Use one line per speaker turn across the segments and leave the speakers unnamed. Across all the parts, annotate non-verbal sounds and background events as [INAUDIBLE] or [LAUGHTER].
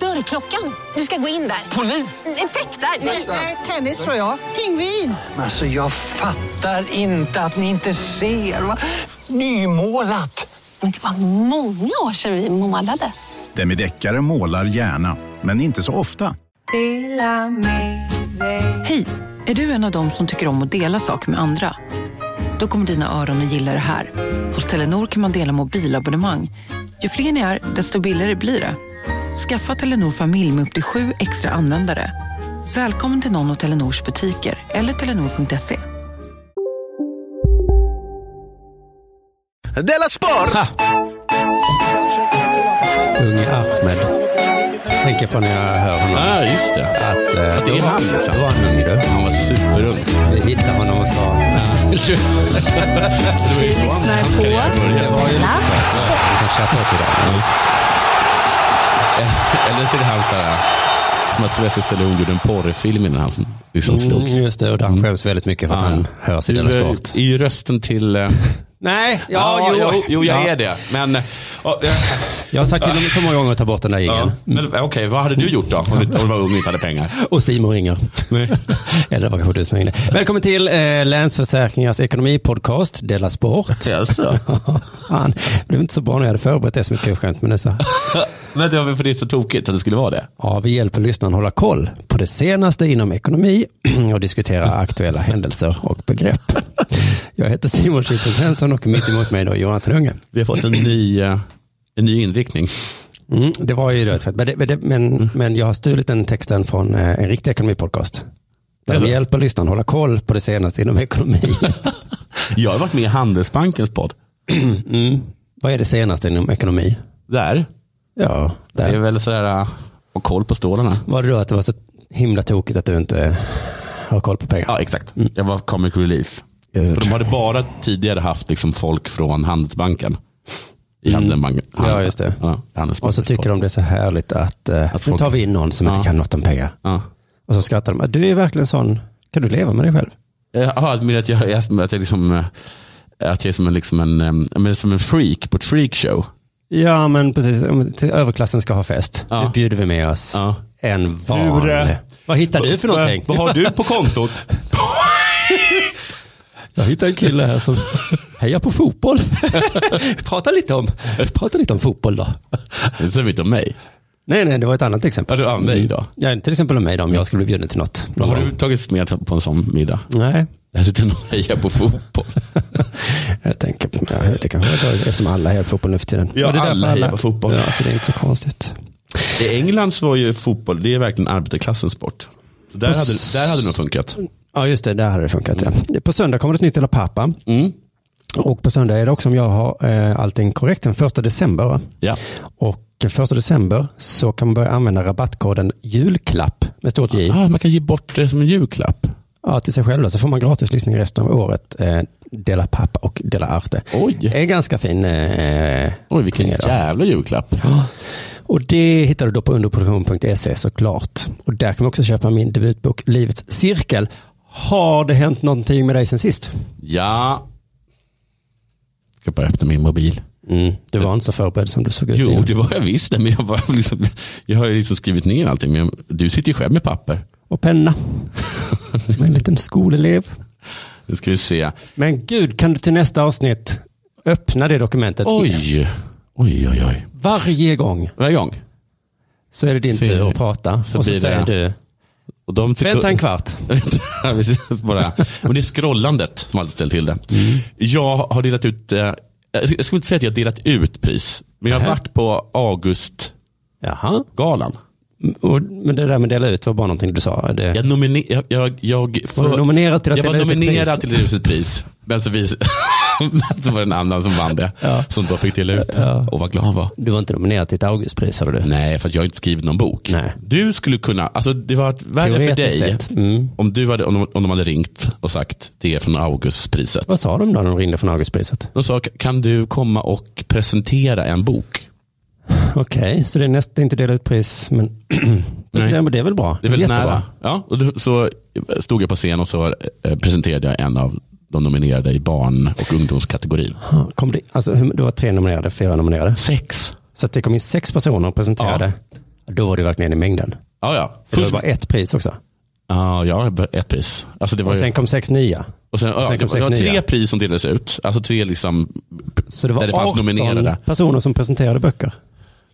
Dörrklockan. Du ska gå in där. Polis? Effektar? Nej, tennis tror jag. Pingvin.
Alltså jag fattar inte att ni inte ser. Va? Nymålat!
Men det var många år sedan vi målade.
Demideckare målar gärna, men inte så ofta.
Hej! Är du en av dem som tycker om att dela saker med andra? Då kommer dina öron att gilla det här. Hos Telenor kan man dela mobilabonnemang. Ju fler ni är, desto billigare blir det. Skaffa Telenor familj med upp till sju extra användare. Välkommen till någon av Telenors butiker eller telenor.se.
Della Sport!
Unge Ahmed. Tänker på när jag hör honom.
Ja, just det.
Att, eh,
Att det är
var-
han, liksom.
Det var han ung du.
Han var superung.
Vi hittade honom och sa...
[LAUGHS]
Lyssnar på Della Sport.
Vi kan släppa åt idag.
Eller så är det han så här, som att Sylvester Stallone gjorde en porrfilm innan han liksom
Mm,
slog.
just det, och han skäms väldigt mycket för att han hörs i Della
Du, eh,
Sport.
Är ju rösten till... eh,
Nej,
Ja, jo, jo, jag
ja.
är det. Men, eh, ja, eh,
Jag har sagt till honom så många gånger att ta bort den där
ja.
jingeln.
men eh, okej, vad hade du gjort då? Om du, om du var ung och inte hade pengar.
Och Simon ringer. [LAUGHS] Eller det var kanske du som ringde. Välkommen till eh, Länsförsäkringars ekonomipodcast, Della Sport. [LAUGHS]
Alltså.
Fan, det blev inte så bra när jag hade förberett det så mycket skönt. Men det är så.
Men det var väl för det är så tokigt att det skulle vara det.
Ja, vi hjälper lyssnaren hålla koll på det senaste inom ekonomi [CLEARS THROAT] och diskutera aktuella händelser och begrepp. Jag heter Simon Chippen Svensson och mitt emot mig då Jonathan Unge.
Vi har fått en ny, eh, en ny inriktning.
Mm, det var ju rödfett, men, det- men, det- men, men jag har stulit den texten från eh, en riktig ekonomipodcast. Där
Jaså?
vi hjälper lyssnaren hålla koll på det senaste inom ekonomi.
Jag har varit med i Handelsbankens podd.
[CLEARS THROAT] Mm. Vad är det senaste inom ekonomi?
Där.
Ja,
Det är
där.
väl sådär, eh, och koll på stålarna.
Var det då att det var så himla tokigt att du inte har koll på pengar?
Ja, exakt. Jag var comic relief.
Good.
För de hade bara tidigare haft liksom folk från Handelsbanken. I Handelsbanken.
Mm. Ja, just det.
Ja, Handelsbanken.
Och så tycker de det är så härligt att, eh,
Att
nu
folk-
tar vi in någon som
Ja.
inte kan något om pengar.
Ja.
Och så skrattar de. Du är verkligen sån. Kan du leva med dig själv?
Jaha, men att jag, jag, att jag, liksom, eh, att jag är som en, liksom en, em, men som en freak på ett freakshow.
Ja, men precis. Om till Överklassen ska ha fest.
Ja.
Nu bjuder vi med oss
Ja.
en vanlig.
Du, eh,
Vad hittar du för någonting?
Vad har du
[LAUGHS]
på kontot?
Jag hittade en kille här [LAUGHS] som hejar på fotboll. [LAUGHS] prata, lite om, prata lite om fotboll då.
Det säger inte om mig.
Nej, nej, det var ett annat exempel. Mm.
Ja, det var om dig då.
Ja, till exempel om mig då, om jag skulle bli bjuden till något.
Vad har du tagits med på en sån middag?
Nej,
Jag sitter och hejar
[LAUGHS]
på fotboll.
Jag tänker på ja, det kanske jag tar, eftersom alla hejar på fotboll nu för tiden.
Ja,
Och det är
alla
därför
hejar på fotboll.
Ja, så det är inte så konstigt.
I England så var ju fotboll, det är verkligen arbetarklassens sport. Så Där
Och
hade,
s-
där hade det nog funkat.
Ja, just det. Där hade det funkat. Ja. På söndag kommer det ett nytt Dela Pappa.
Mm.
Och på söndag är det också, om jag har eh, allting korrekt, den första december. Va?
Ja.
Och den första december så kan man börja använda rabattkoden julklapp med stort J.
Ah, man kan ge bort det som en julklapp.
Ja, till sig själv då, så får man gratis lyssning resten av året. Eh, Dela Pappa och Dela Arte.
Oj.
Det är en ganska fin... Eh,
Oj, vilken
grej då.
jävla julklapp.
Och det hittar du då på underproduktion.se E såklart. Och där kan man också köpa min debutbok Livets cirkel. Har det hänt någonting med dig sen sist?
Ja. Jag ska bara öppna min mobil.
Du Mm, var inte så förberedd som du såg ut
Jo,
innan.
det var jag visst. Nej, Men jag, var [LAUGHS] liksom, jag har ju liksom skrivit ner allting. Men jag- du sitter ju själv med papper.
Och
[LAUGHS]
penna. Som en liten skolelev.
Nu ska vi se.
Men gud, kan du till nästa avsnitt öppna det dokumentet?
Oj, oj, oj, oj.
Varje gång
Varje gång.
så är det din
Se.
tur att prata.
Så
och så
blir det-
säger du,
Och de tyckte-
vänta en kvart.
[LAUGHS] Ja, precis. bara. Men det är scrollandet som alltid ställer till det. Jag har delat ut, eh, jag skulle inte säga att jag har delat ut pris, men jag har
Nähä.
varit på Augustgalan.
Jaha. Och, men det där med dela ut var bara någonting du sa. Det,
Jag, nomine- jag, jag, jag,
Var du nominerad till att
jag var
dela ut ett
nominerad
pris?
till ett pris. Men så vis- [LAUGHS] så var det en annan som vann det. Som då fick dela ut det. Och vad glad han var.
Du var inte nominerad till ett Augustpris, hade du?
Nej, för att jag har inte skrivit någon bok.
Nej.
Du skulle kunna, alltså det var varit värre för dig
Teoretiskt sett. Mm.
om, du hade, om, de, om de hade ringt och sagt det är från Augustpriset.
Vad sa de då när de ringde från Augustpriset?
De sa, kan du komma och presentera en bok?
Okej, så det är nästan inte delat ut pris, men [CLEARS THROAT]
Nej.
Nej. det är väl bra?
Det är väldigt
Jättebra.
nära. Ja, och då, så eh, stod jag på scen och så eh, presenterade jag en av de nominerade i barn och ungdomskategorin.
Ja, Kom det, alltså, hur- det var tre nominerade, fyra nominerade.
Sex.
Så att det kom in sex personer och presenterade. Då var det verkligen i mängden.
Ja, ja.
För det
Först,
var bara ett pris också.
ja, ja, ett pris. Alltså det var
Och
ju-
sen kom sex nya.
Och sen, ja,
sen
det,
kom
var- det var
sex
tre
nya.
pris som delades ut. Alltså tre liksom,
Så det var
där det fanns
18
nominerade.
personer som presenterade böcker.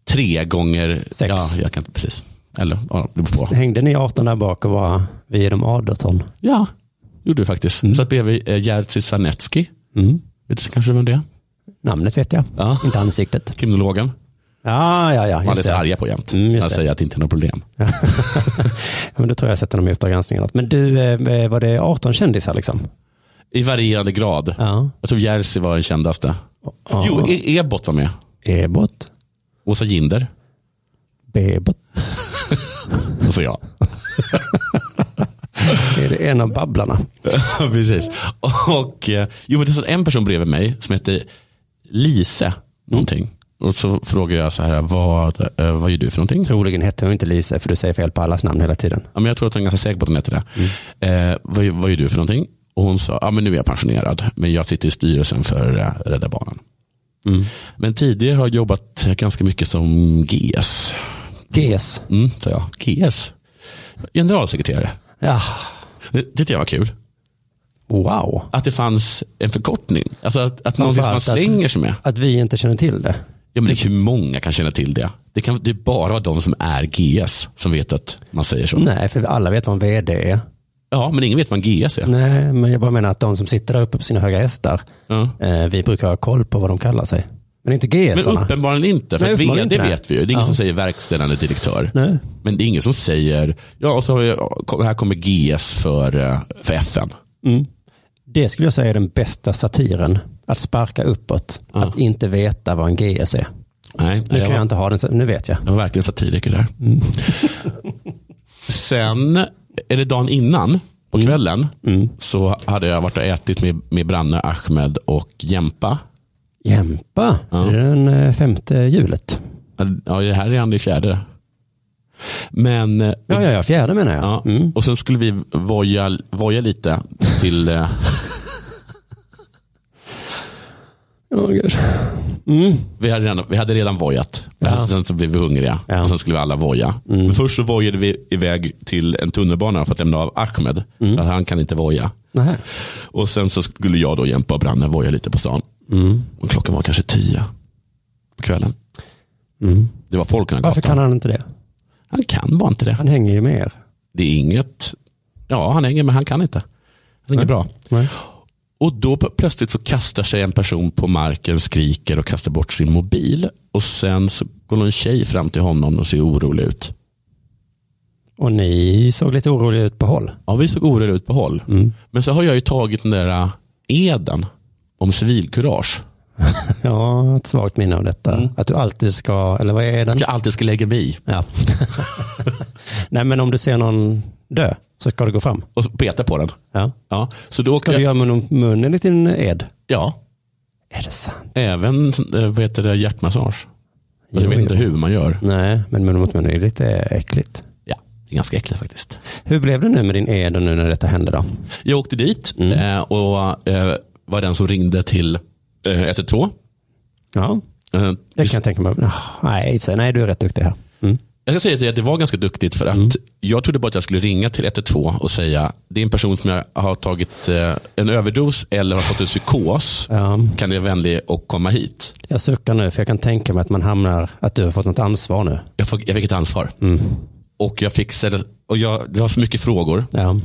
Tre gånger
Sex.
Ja, jag kan inte, precis. Eller, ja, det beror på.
Hängde ni 18 där bak och bara, vi är de 18.
Ja, gjorde vi faktiskt. Satt bredvid eh, Jerzy Sarnecki.
Mm.
Vet du kanske vem det är?
Namnet vet jag,
Ja.
inte ansiktet.
Kriminologen.
Ja, ja, ja.
Han är
Just
så
det.
arga på jämt.
Mm, just
Han
det.
säger att det inte är något problem.
Ja, men då tror jag jag sätter dem i Uppdrag granskning eller något. Men du, eh, var det 18 kändisar liksom?
I varierande grad.
Ja.
Jag tror Jerzy var den kändaste.
Ja.
Jo, E- Ebot var med.
Ebot,
Åsa Ginder.
Bebot.
Och så jag.
Är det en av babblarna?
[LAUGHS] Precis. Och, eh, jo, men det satt en person bredvid mig som hette Lise någonting. Och så frågade jag så här, vad, eh, vad gör du för någonting?
Troligen hette hon inte Lisa, för du säger fel på allas namn hela tiden.
Ja, men jag tror att hon är ganska säker på att hon heter det.
Mm.
Eh, vad, vad gör du för någonting? Och hon sa, ja, men nu är jag pensionerad, men jag sitter i styrelsen för eh, Rädda Barnen.
Mm.
Men tidigare har jag jobbat ganska mycket som GS.
GS.
Mm, sa jag. GS? Generalsekreterare.
Ja.
Det tyckte jag var kul.
Wow.
Att det fanns en förkortning. Alltså att, att någonting som man
Framförallt att-
slänger sig med.
Att vi inte känner till det.
Ja, men det, hur många kan känna till det? Det, kan, det är bara de som är GS som vet att man säger så.
Nej, för alla vet vad en vd är.
Ja, men ingen vet vad en GS är.
Nej, men jag bara menar att de som sitter där uppe på sina höga hästar,
Ja.
eh, vi brukar ha koll på vad de kallar sig. Men inte
Men
GS-arna.
uppenbarligen inte. För
Nej,
att
uppenbarligen
vd
inte, nej.
vet vi ju. Det är ingen
Ja.
som säger verkställande direktör.
Nej.
Men det är ingen som säger, ja, och så har vi, här kommer GS för, eh, för FN.
Det skulle jag säga är den bästa satiren. Att sparka uppåt.
Ja.
Att inte veta vad en GS är.
Nej,
Nu
jag
kan
var-
jag inte Mm. ha den, så- nu vet jag.
Jag var verkligen satiriker där. [LAUGHS] Sen, är det dagen innan, på
Mm.
kvällen, så hade jag varit och ätit med, med Branne, Ahmed och Jempa.
Jämpa,
Ja.
det är den eh, femte hjulet.
Ja, det här är han i fjärde. Men, eh,
Ja, ja, ja, fjärde menar jag.
ja,
Mm.
och sen skulle vi voja, voja lite till, eh,
Åh, gud. Mm.
vi, hade redan, vi hade redan vojat. Men Sen så blev vi hungriga
Ja. Mm.
och sen skulle vi alla voja. Men först så vojade vi iväg till en tunnelbana för att lämna av Ahmed.
Mm.
För att han kan inte voja.
Nähä.
Och sen så skulle jag då Jempa och Branne voja lite på stan. Och klockan var kanske tio på kvällen.
Mm.
Det var folk i den här
Varför
gatan.
kan han inte det?
Han kan bara inte det.
Han hänger ju med er.
Det är inget. Ja, han hänger men han kan inte. Han är inget bra.
Nej.
Och då pl- plötsligt så kastar sig en person på marken, skriker och kastar bort sin mobil. Och sen så går någon tjej fram till honom och ser orolig ut.
Och ni såg lite oroliga ut på håll.
Ja, vi såg oroliga ut på håll.
Mm.
Men så har jag ju tagit den där äh, eden om civilkurage.
Ja, ett svagt minne av detta.
Mm.
Att du alltid ska, eller vad är den?
Att jag alltid ska lägga mig i.
Ja. [LAUGHS] Nej, men om du ser någon dö så ska du gå fram.
och så peta på den.
Ja.
Ja, så då
Ska
åker
du
jag,
göra mun, munnen lite en ed?
ja,
Är det sant?
även eh, vad heter det, hjärtmassage. Men
Jo,
jag vet
jo.
inte hur man gör.
Nej, men mun mot mun är ju lite äckligt.
Ja, det är ganska äckligt faktiskt.
Hur blev det nu med din ed och nu när detta hände då?
Jag åkte dit
Mm.
eh, och eh, var den som ringde till eh, 112.
Ja,
Eh,
det
vi-
kan jag tänka mig. Ah, Nej, i och för sig. nej, du är rätt duktig här. Mm.
jag kan säga till dig att det var ganska duktigt för att jag trodde bara att jag skulle ringa till 112 och säga det är en person som jag har tagit eh, en överdos eller har fått en psykos.
Ja.
Kan du vara vänlig och komma hit?
Jag suckar nu för jag kan tänka mig att man hamnar, att du har fått något ansvar nu.
Jag fick, jag fick ett ansvar.
Mm.
Och jag fick ställa, och jag, det var så mycket frågor.
Ja.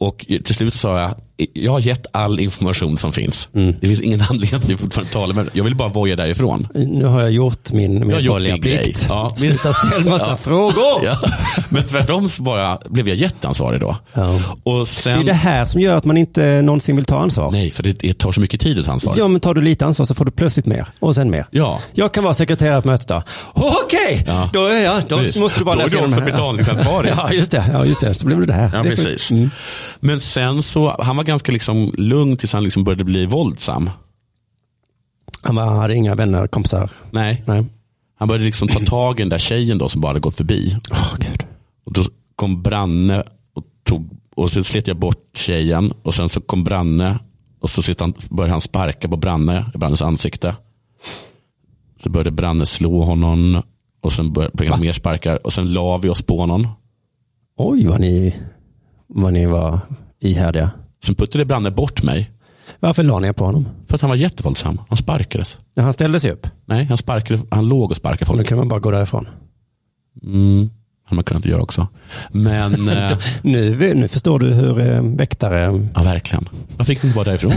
Och till slut sa jag, jag har gett all information som finns.
Mm.
Det finns ingen [LAUGHS] anledning att vi fortfarande talar med Jag vill bara voja därifrån.
Nu har jag gjort min
Jag har gjort
medborgerliga
min grej.
plikt.
Ja.
Sluta ställ massa
Ja.
frågor.
[LAUGHS] Ja. Men tvärtom så bara blev jag jätteansvarig då.
Ja.
Och
Det
sen,
är det här som gör att man inte någonsin vill ta ansvar.
Nej, för det, det tar så mycket tid att ta ansvar.
Ja, men tar du lite ansvar så får du plötsligt mer och sen mer.
Ja.
Jag kan vara sekreterare på mötet då. Okej,
Ja.
då är jag. Då
Precis.
måste du bara
Då är
läsa
de
igenom
som
här.
betalningsansvarig.
[LAUGHS] Ja, just det. Ja, just det. Så blev det det här.
Ja,
Det är
precis.
sjukt. Mm.
Men sen så, han var ganska liksom lugn tills han liksom började bli våldsam.
Han var, hade inga vänner, kompisar.
Nej.
Nej.
Han började liksom ta tag i den där tjejen då som bara hade gått förbi.
Åh, gud.
Och då kom Branne och, tog, och så slet jag bort tjejen. Och sen så kom Branne och så slet han, började han sparka på Branne, i Brannes ansikte. Så började Branne slå honom och sen började började han mer sparkar. Och sen la vi oss på honom.
Oj, vad ni, vad ni var ihärdiga.
Sen puttade Branne bort mig
Varför la ni er på honom?
för att han var jättevåldsam. Han sparkades.
Ja, han ställde sig upp.
Nej, han, sparkade, han låg och sparkade
Och då
folk.
kan man bara gå därifrån.
Mm, hade man kunnat göra också.
[LAUGHS]
Men, eh,
Nu, nu förstår du hur eh, väktare...
ja verkligen. Varför fick inte bara därifrån?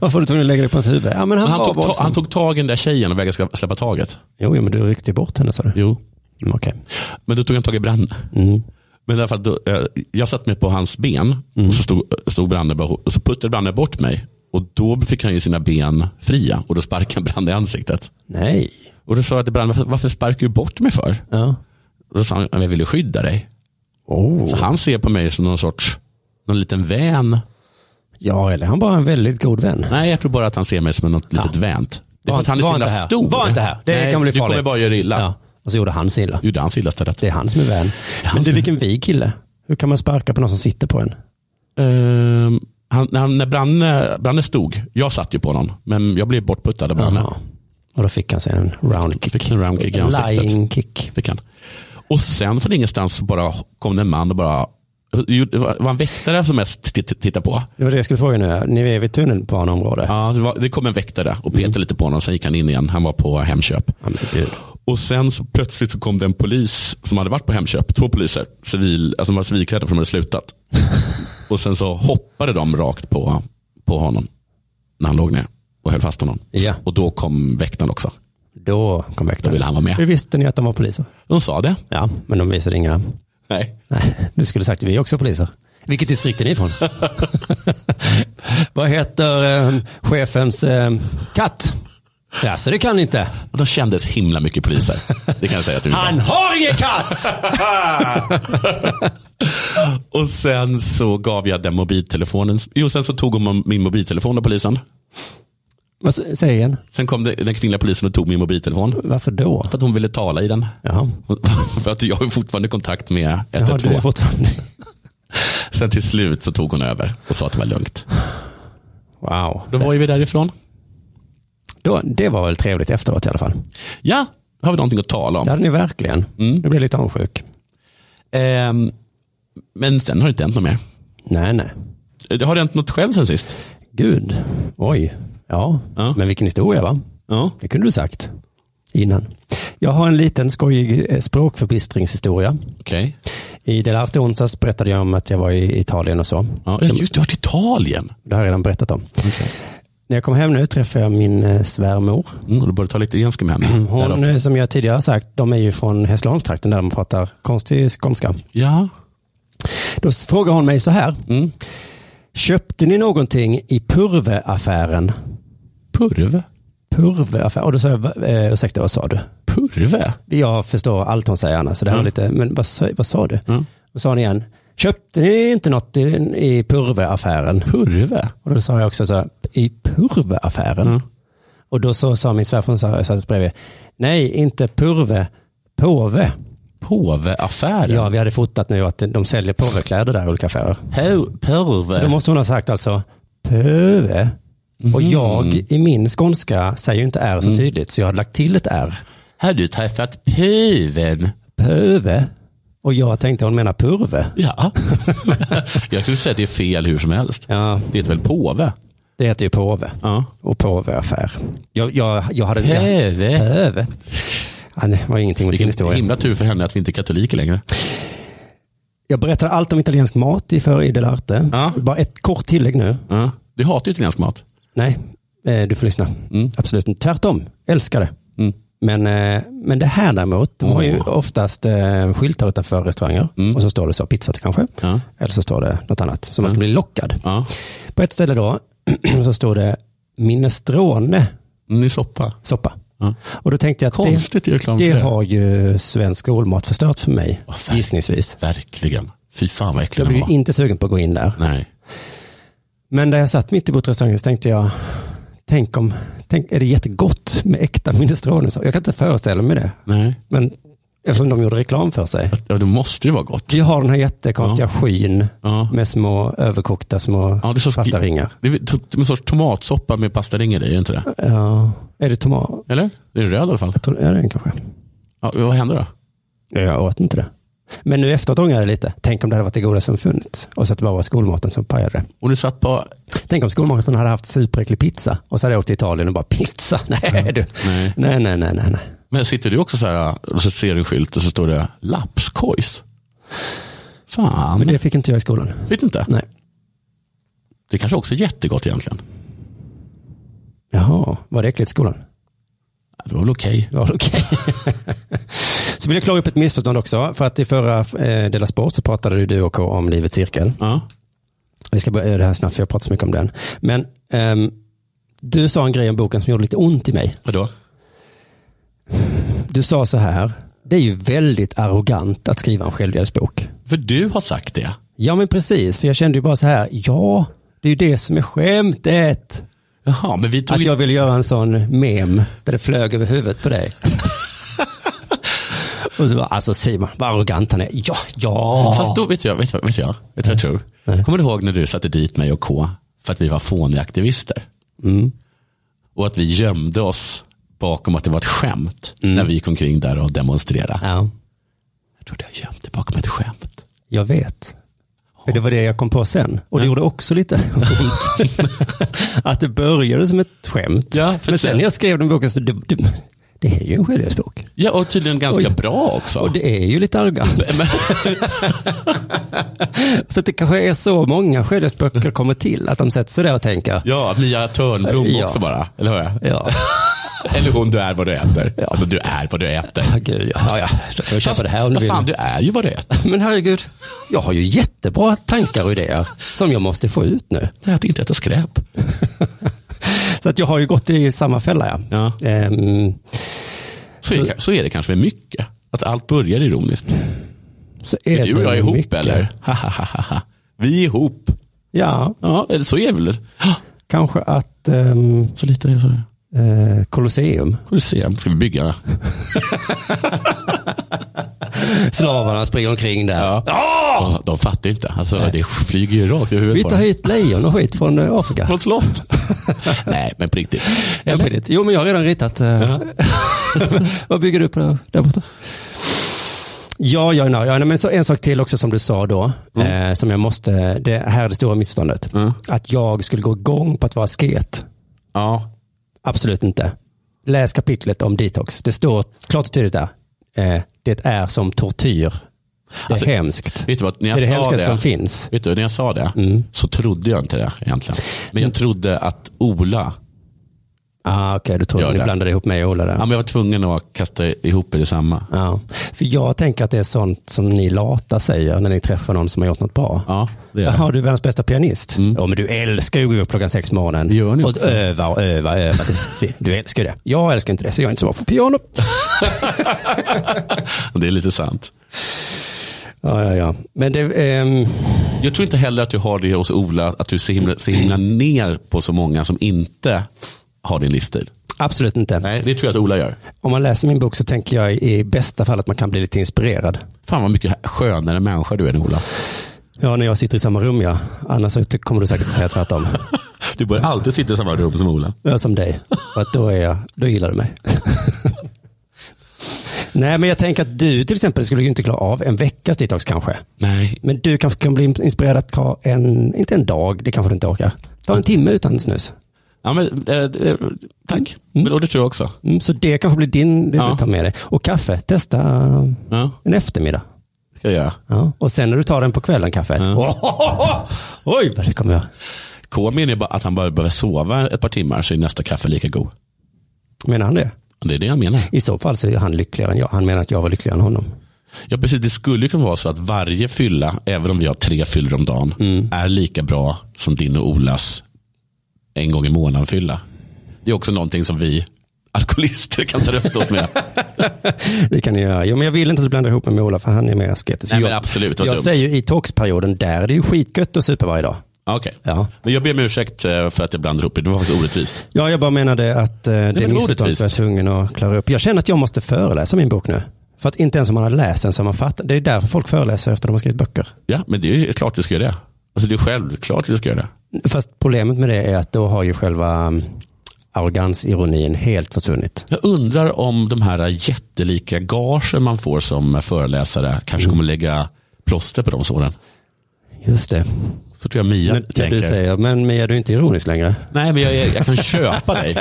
Varför var du tvungen att lägga dig på hans huvud? Ja, men han,
Men han,
var
tog, ta,
våldsam.
han tog tag i den där tjejen och vägrade ska- släppa taget.
Jo, jo, men du ryckte bort henne sa du.
Jo,
Mm, Okej.
men då tog han tag i Branne.
Mm.
Men därför att då, eh, jag satte mig på hans ben
Mm.
och så stod, stod Branne bara, och så puttade Branne bort mig. Och då fick han ju sina ben fria och då sparkade han Branne i ansiktet.
Nej.
Och då sa jag till Branne, varför, varför sparkar du bort mig för?
Ja.
Och då sa han, "Ja, jag ville skydda dig.
Oh.
Så han ser på mig som någon sorts, någon liten vän.
Ja, eller han var en väldigt god vän.
Nej, jag tror bara att han ser mig som något litet vänt. Det är för att han är så himla
här.
stor.
Var inte här. Det
Nej,
kan bli
du
farligt.
kommer bara göra illa.
Ja. Och så gjorde han sig illa.
Gjorde han sig illa stället?
Det är han som är vän. Men du, vilken vig kille. Hur kan man sparka på någon som sitter på en?
Ehm, han, när han, när Branne, Branne stod, jag satt ju på honom, men jag blev bortputtad av Branne.
Jaha. Och då fick han sig en round kick.
Fick en round kick i ansiktet.
Lying kick.
Fick han. Och sen från ingenstans så bara kom det en man och bara, det var det var en väktare som mest t- t- tittade på.
Det var det jag skulle fråga nu. Ni är vid tunnelbaneområde.
Ja, det, var, det kom en väktare och petade lite på honom, sen gick han in igen, han var på Hemköp.
Ja, men gud.
Och sen så plötsligt så kom det en polis som hade varit på Hemköp. Två poliser. Civil, alltså de var civilklädda för de
[LAUGHS]
hade slutat. och sen så hoppade de rakt på, på honom. När han låg ner och höll fast honom.
Ja.
Och då kom väktaren också.
Då kom
Då
väktaren.
ville han vara
Hur
med.
visste ni att de var poliser?
De sa det.
Ja, men de visade inga.
Nej.
Nej, du skulle sagt vi är också poliser. Vilket distrikt är ni ifrån? [LAUGHS] Vad heter eh, chefens eh, katt? Ja, så det kan ni inte.
De kändes himla mycket poliser. Det kan jag säga att du
Han har ingen katt!
Och sen så gav jag den mobiltelefonen. Jo, sen så tog hon min mobiltelefon av polisen.
Vad s- säger igen?
Sen kom det, den kvinnliga polisen och tog min mobiltelefon.
Varför då?
För att hon ville tala i den. [LAUGHS]
Jaha.
För att jag har ju fortfarande kontakt med
Jaha, du är
112.
fortfarande...
Sen till slut så tog hon över och sa att det var lugnt.
Wow.
Då var ju vi därifrån.
Då, det var väl trevligt efteråt i alla fall.
Ja, har vi någonting att tala om.
Det hade ni verkligen. Nu blir jag lite avundsjuk.
Ehm, men sen har det inte hänt något mer.
Nej, nej.
Eh, Har det hänt något själv sen sist?
Gud. Oj. Ja,
Ja.
men vilken historia va?
Ja.
Det kunde du sagt innan. Jag har en liten skojig eh, språkförbistringshistoria.
Okej.
I Dela Arte onsdags berättade jag om att jag var i Italien och så.
Ja, just det, har varit Italien.
Det har jag redan berättat om. När jag kom hem nu träffade jag min eh, svärmor.
Mm, då borde ta lite italienska med henne.
Hon,
Därav-
eh, som jag tidigare har sagt, de är ju från Hässleholmstrakten där de pratar konstig skånska.
Ja.
Då s- frågar hon mig så här.
Mm.
Köpte ni någonting i Purveaffären?
Purve.
Purveaffären? Och då sa jag, "Va- eh, ursäkta vad sa du?
Purve?
Jag förstår allt hon säger Anna, så det här
Mm.
var lite, men vad, sa- vad sa du?
Mm.
Och sa hon igen, köpte ni inte något i, i Purveaffären?
Purve?
Och då sa jag också så här, i Purveaffären?
Mm.
Och då så sa min svärfar, hon sa- satt bredvid, nej inte Purve, Påve.
Påveaffären?
Ja, vi hade fotat nu att de säljer påvekläder där i olika affärer.
Po-
Så då
Purve?
måste hon ha sagt alltså pöve. Och
Mhm.
jag i min skånska säger ju inte R
Mm.
så tydligt så jag har lagt till ett R.
Har du träffat puven?
Pöve. Och jag tänkte hon menar purve.
Ja. [LAUGHS] jag skulle säga att det är fel hur som helst.
Ja,
Det heter väl påve?
det heter ju påve.
Ja.
Och påveaffär. Jag, jag, jag hade... jag-
Pöve.
Pöve. Ja, det var ingenting mot din
Vilken
historia.
himla tur för henne att vi inte är katoliker längre.
Jag berättade allt om italiensk mat i för Idel Arte.
Ja.
Bara ett kort tillägg nu.
Ja. Du hatar ju italiensk mat.
Nej, eh, du får lyssna.
Mm.
Absolut inte. Tvärtom, älskar det.
Mm.
Men, eh, men det här däremot, de har ju
Åh.
oftast eh, skyltar utanför restauranger.
Mm.
Och så står det så, pizza kanske.
Ja.
Eller så står det något annat. Så man ska bli lockad.
Ja.
På ett ställe då, [CLEARS THROAT] så står det minestrone
Mm, det är soppa.
soppa.
Ja.
Och då tänkte jag att det,
Konstigt det, reklam
det
för det.
har ju svensk skolmat förstört för mig,
Åh, verkligen.
gissningsvis.
Verkligen. Fy fan vad äcklig
Jag
den
blev
var.
ju inte sugen på att gå in där.
Nej.
Men där jag satt mitt emot restaurangen så tänkte jag, tänk om, tänk, är det jättegott med äkta minestroner? Så Jag kan inte föreställa mig det.
Nej.
Men eftersom de gjorde reklam för sig.
Ja, det måste ju vara gott.
Vi har den här jättekonstiga skyn
Ja.
med små överkokta små
Ja, det är så-
pastaringar.
Det är väl to- en sorts tomatsoppa med pastaringar i, är det inte det?
Ja, är det tomat?
Eller? Det är röd i alla fall.
Jag tror, ja, det är den kanske.
Ja, vad händer då?
Ja, Jag åt inte det. Men nu efteråt ångrar jag det lite. Tänk om det hade varit det goda som funnits och så att det bara var skolmaten som pajade det.
Och du satt på...
Tänk om skolmaten hade haft superäcklig pizza och så hade jag åkt till Italien och bara pizza. Nej, du.
Nej.
Nej, nej, nej, nej. nej.
Men sitter du också så här och så ser du en skylt och så står det lapskojs? Fan.
Men det fick inte jag i skolan.
Vet inte.
Nej.
Det kanske också är jättegott egentligen.
Jaha, var det äckligt i skolan?
Ja, Det var väl okej.
Ja, okej. [LAUGHS] så vill jag klara upp ett missförstånd också. För att i förra eh, Dela Sport så pratade du och K om Livets cirkel.
Ja.
Vi ska börja eh, det här snabbt för jag pratar så mycket om den. Men ehm, du sa en grej om boken som gjorde lite ont i mig.
Vadå?
Du sa så här, det är ju väldigt arrogant att skriva en självhjälpsbok.
För du har sagt det.
Ja men precis, för jag kände ju bara så här, ja, det är ju det som är skämtet.
Jaha, men vi tog...
Att jag ville göra en sån mem där det flög över huvudet på dig. Och så bara, alltså Simon, vad arrogant han är. Ja, ja.
Fast då vet jag, vet jag, vet jag, vet jag, jag tror. Kommer du ihåg när du satte dit mig och K för att vi var fåniga aktivister?
Mm.
Och att vi gömde oss bakom att det var ett skämt
Mm.
när vi gick omkring där och demonstrerade.
ja,
Jag trodde jag gömde bakom ett skämt.
jag vet. För det var det jag kom på sen. Och det gjorde också lite ont. att det började som ett skämt.
Ja,
men
precis.
sen när jag skrev den boken så, det, det, det är ju en självhjälpsbok.
Ja, och tydligen ganska
Oj.
bra också.
Och det är ju lite arrogant.
[LAUGHS]
så att det kanske är så många självhjälpsböcker kommer till, att de sätter sig där och tänker,
Ja, Mia Törnblom
Ja.
också bara. Eller hur?
ja,
Eller hon, du är vad du äter. Alltså du är vad du äter.
ja gud, ja, ja, jag får köpa det här om du
vad
vill.
fan, du är ju vad du äter.
Men herregud, jag har ju jättebra tankar och idéer som jag måste få ut nu.
Jag äter inte äta skräp.
Så att jag har ju gått i samma fälla. Ja.
Ja.
Ehm,
Så, är, så är det kanske med mycket. Att allt börjar ironiskt.
så är,
du och
det
jag är ihop
mycket.
eller? Ha, ha, ha, ha, ha. Vi är ihop.
Ja,
Ja, eller så är väl det. Ah,
kanske att ehm,
Så lite är det. så det.
eh, Colosseum,
Får vi se. Ska vi
Ah!
bygga?
slavarna springer omkring där.
Ja, de fattar ju inte. Alltså, det flyger ju rakt över
Vi
huvudet på
tar
dem.
hit lejon och skit från eh, Afrika.
Från ett slott. [LAUGHS] Nej, men på riktigt.
Jag på det. Jo, men jag har redan ritat. eh, [LAUGHS] Vad bygger du på där, där borta? Ja, ja, ja, ja nej, men så en sak till också som du sa då, eh, som jag måste, det här är det stora missförståndet. Att jag skulle gå igång på att vara asket.
Ja.
Absolut inte. Läs kapitlet om detox. Det står klart och tydligt där. Eh, det är som tortyr. Det är
Alltså,
hemskt.
Vet du vad, när
det
jag
är det
sa
hemskaste
det,
som finns. Mm.
Vet du, när jag sa det så trodde jag inte det egentligen. Men jag trodde att Ola,
Ah, Okej, du tror
Gör
att ni
det.
blandade ihop mig och Ola där.
ja, men jag var tvungen att kasta ihop i detsamma.
Ja, för jag tänker att det är sånt som ni lata säger när ni träffar någon som har gjort något bra.
Ja, det är det.
Jaha, du är världens bästa pianist. Ja, men du älskar ju att gå upp klockan sex på morgonen.
Det gör ni
och
också.
öva och öva och öva.
[LAUGHS]
tills- Du älskar ju det. Jag älskar inte det, så jag är inte så bra på piano.
Och Det är lite sant.
Ja, ja, ja. Men det, ehm,
Jag tror inte heller att du har det hos Ola, att du ser himla, ser himla ner på så många som inte har din livsstil.
absolut inte.
Nej, det tror jag att Ola gör.
Om man läser min bok så tänker jag i bästa fall att man kan bli lite inspirerad.
Fan vad mycket skönare människa du är än Ola.
Ja, när jag sitter i samma rum, ja. Annars så ty- kommer du säkert säga tvärtom.
Du bör alltid sitta i samma rum som Ola.
Jag är som dig. För att då, är jag, då gillar du mig. Nej, men jag tänker att du till exempel skulle ju inte klara av en veckas detox kanske.
Nej,
Men du kanske kan bli inspirerad att ta en, inte en dag, det kanske du inte orkar. Ta en timme utan snus.
ja, men, eh, eh, tack. Men, och det tror jag också.
Mm, så det kanske blir din, det
Ja.
du tar med dig. Och kaffe, testa
Ja.
en eftermiddag.
Ska jag göra.
Ja. Och sen när du tar den på kvällen kaffet.
[LAUGHS]
Oj, vad det kommer jag.
K menar ju bara att han bara behöver sova ett par timmar så är nästa kaffe lika god.
Menar han det?
Det är det han menar.
I så fall så är han lyckligare än jag. Han menar att jag var lyckligare än honom.
Ja, precis. Det skulle ju kunna vara så att varje fylla, även om vi har tre fyllor om dagen, är lika bra som din och Olas en gång i månaden fylla. Det är också någonting som vi alkoholister kan trösta oss med.
Det kan ni göra. Jo, men jag vill inte att du blandar ihop mig med Ola för han är mer asketisk.
Nej,
jag,
men absolut, vad
jag
dumt.
säger ju i toxperioden, där är det ju skitgött att supa varje dag.
Ja, Ah, Okej,
Ja.
men jag ber om ursäkt eh, för att jag blandar ihop det. Det var faktiskt orättvist.
Ja, jag bara menade att eh, det är
men
missuttag
orättvist.
för att hungern att klara upp. Jag känner att jag måste föreläsa min bok nu. För att inte ens om man har läst den så har man fattat. Det är därför folk föreläser efter de har skrivit böcker.
Ja, men det är ju klart du ska göra det. Alltså det är självklart du ska göra det.
Fast problemet med det är att då har ju själva mm, arrogansironin helt försvunnit.
Jag undrar om de här jättelika gagen man får som föreläsare kanske kommer lägga plåster på de såren.
Just det.
Så tror jag Mia
Men,
tänker.
du säger, men Mia, du är inte ironisk
[LAUGHS]
längre.
Nej, men jag, är- jag kan köpa dig.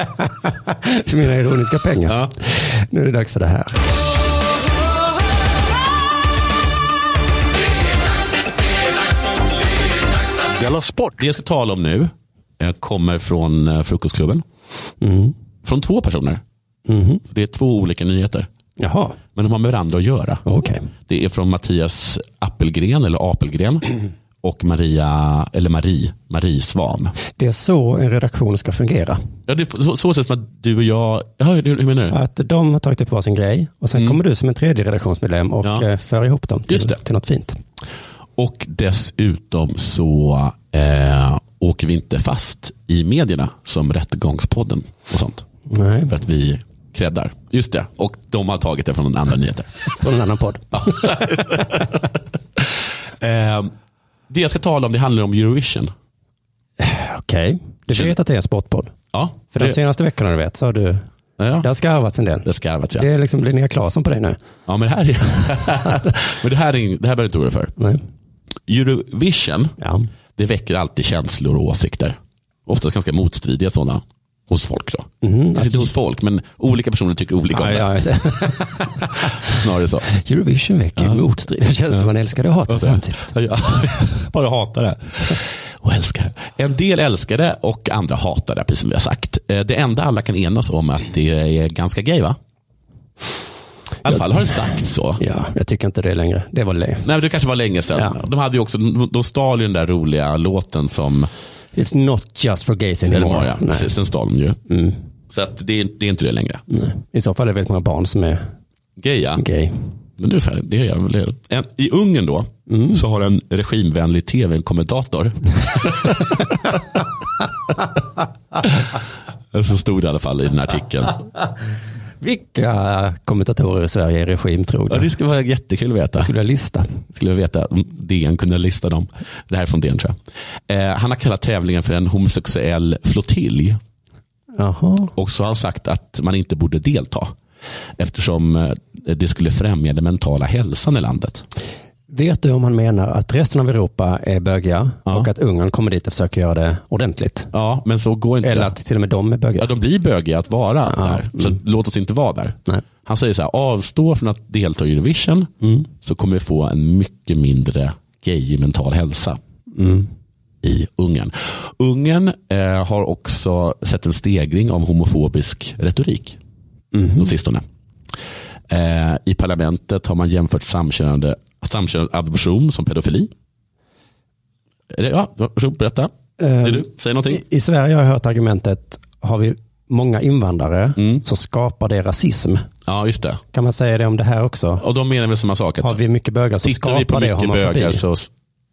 För mina ironiska pengar.
Ja.
Nu är det dags för det här.
Della Sport!
Det jag ska tala om nu eh, kommer från eh, Frukostklubben.
Mm.
Från två personer.
Mhm.
Det är två olika nyheter.
Jaha,
Men de har med varandra att göra.
okej.
Det är från Mattias Appelgren, eller Apelgren. [CLEARS THROAT] Och Maria, eller Marie, Marie Svan.
Det är så en redaktion ska fungera.
Ja, det är så, så ses det som att du och jag, ja, hur, hur menar du?
Att de har tagit upp varsin grej och sen kommer du som en tredje redaktionsmedlem och
Mm. Ja.
eh, för ihop dem till,
Just det.
till något fint.
Och dessutom så eh, åker vi inte fast i medierna som Rättegångspodden och sånt.
Nej,
För att vi creddar. Just det, och de har tagit det från andra nyheter.
från en annan [LAUGHS] podd.
Eh, det jag ska tala om det handlar om Eurovision.
Okej, du
Känner-
vet att det är en sportpodd.
Ja,
För de
det,
senaste veckorna du vet så har du,
ja,
det har skarvats en del.
det skarvats ja.
Det är liksom Linnea Claesson på dig nu.
ja men det här, är, [LAUGHS] men det här, är, ing- det här behöver du inte oroa dig för.
Nej.
Eurovision,
Ja.
det väcker alltid känslor och åsikter. Oftast ganska motstridiga sådana. Hos folk då. Kanske inte hos folk, men olika personer tycker olika om
Ja,
det.
ja, just [LAUGHS] det.
Snarare så.
Eurovision väcker ju motstridiga känslor. Man älskar det och hatar samtidigt.
Ja, jag [LAUGHS] bara hatar det. Och älskar det. En del älskar det och andra hatar det, precis som vi har sagt. Eh, Det enda alla kan enas om är att det är ganska gay, va? I alla fall har det sagt så.
Ja, jag tycker inte det längre. Det var det.
Nej, men det kanske var länge sedan.
Ja.
De hade ju också, de stal ju den där roliga låten som
It's not just for gays anymore.
Elmar, ja.
Nej. Mm.
Precis, den stal de ju. Så att det, är, det är inte det längre.
Nej. I så fall är det väldigt många barn som är
Gay, ja.
gay.
Men nu är färdig. det är jag väl Mm. det. En, I Ungern då, så har en regimvänlig [LAUGHS] tv-kommentator. så stod det i alla fall i den här artikeln.
Vilka kommentatorer i Sverige är regimtrogna?
Ja, det skulle vara jättekul att veta.
skulle jag lista.
Skulle jag veta om DN kunde lista dem. Det här är från DN tror jag. Eh, han har kallat tävlingen för en homosexuell flottilj.
Jaha.
Och så har han sagt att man inte borde delta. Eftersom eh, det skulle främja den mentala hälsan i landet.
Vet du om han menar att resten av Europa är bögiga
Ja.
och att Ungern kommer dit och försöker göra det ordentligt?
Ja, men så går inte
Eller
det.
att till och med de är bögiga?
Ja, de blir bögiga att vara där. Så låt oss inte vara där.
Nej.
Han säger så här, avstå från att delta i Eurovision så kommer vi få en mycket mindre gay i mental hälsa
Mm.
i Ungern. Ungern eh, har också sett en stegring av homofobisk retorik på sistone. Eh, I parlamentet har man jämfört samkönade, samkönad adoption som pedofili. Är det, ja, berätta.
Ehm,
är du, säg någonting.
I, I Sverige har jag hört argumentet, har vi många invandrare
Mm.
så skapar det rasism.
Ja, just det.
Kan man säga det om det här också?
Och de menar väl samma sak? att-
Har vi mycket bögar så
Tittar vi på
skapar det
mycket
homofobi?
bögar så...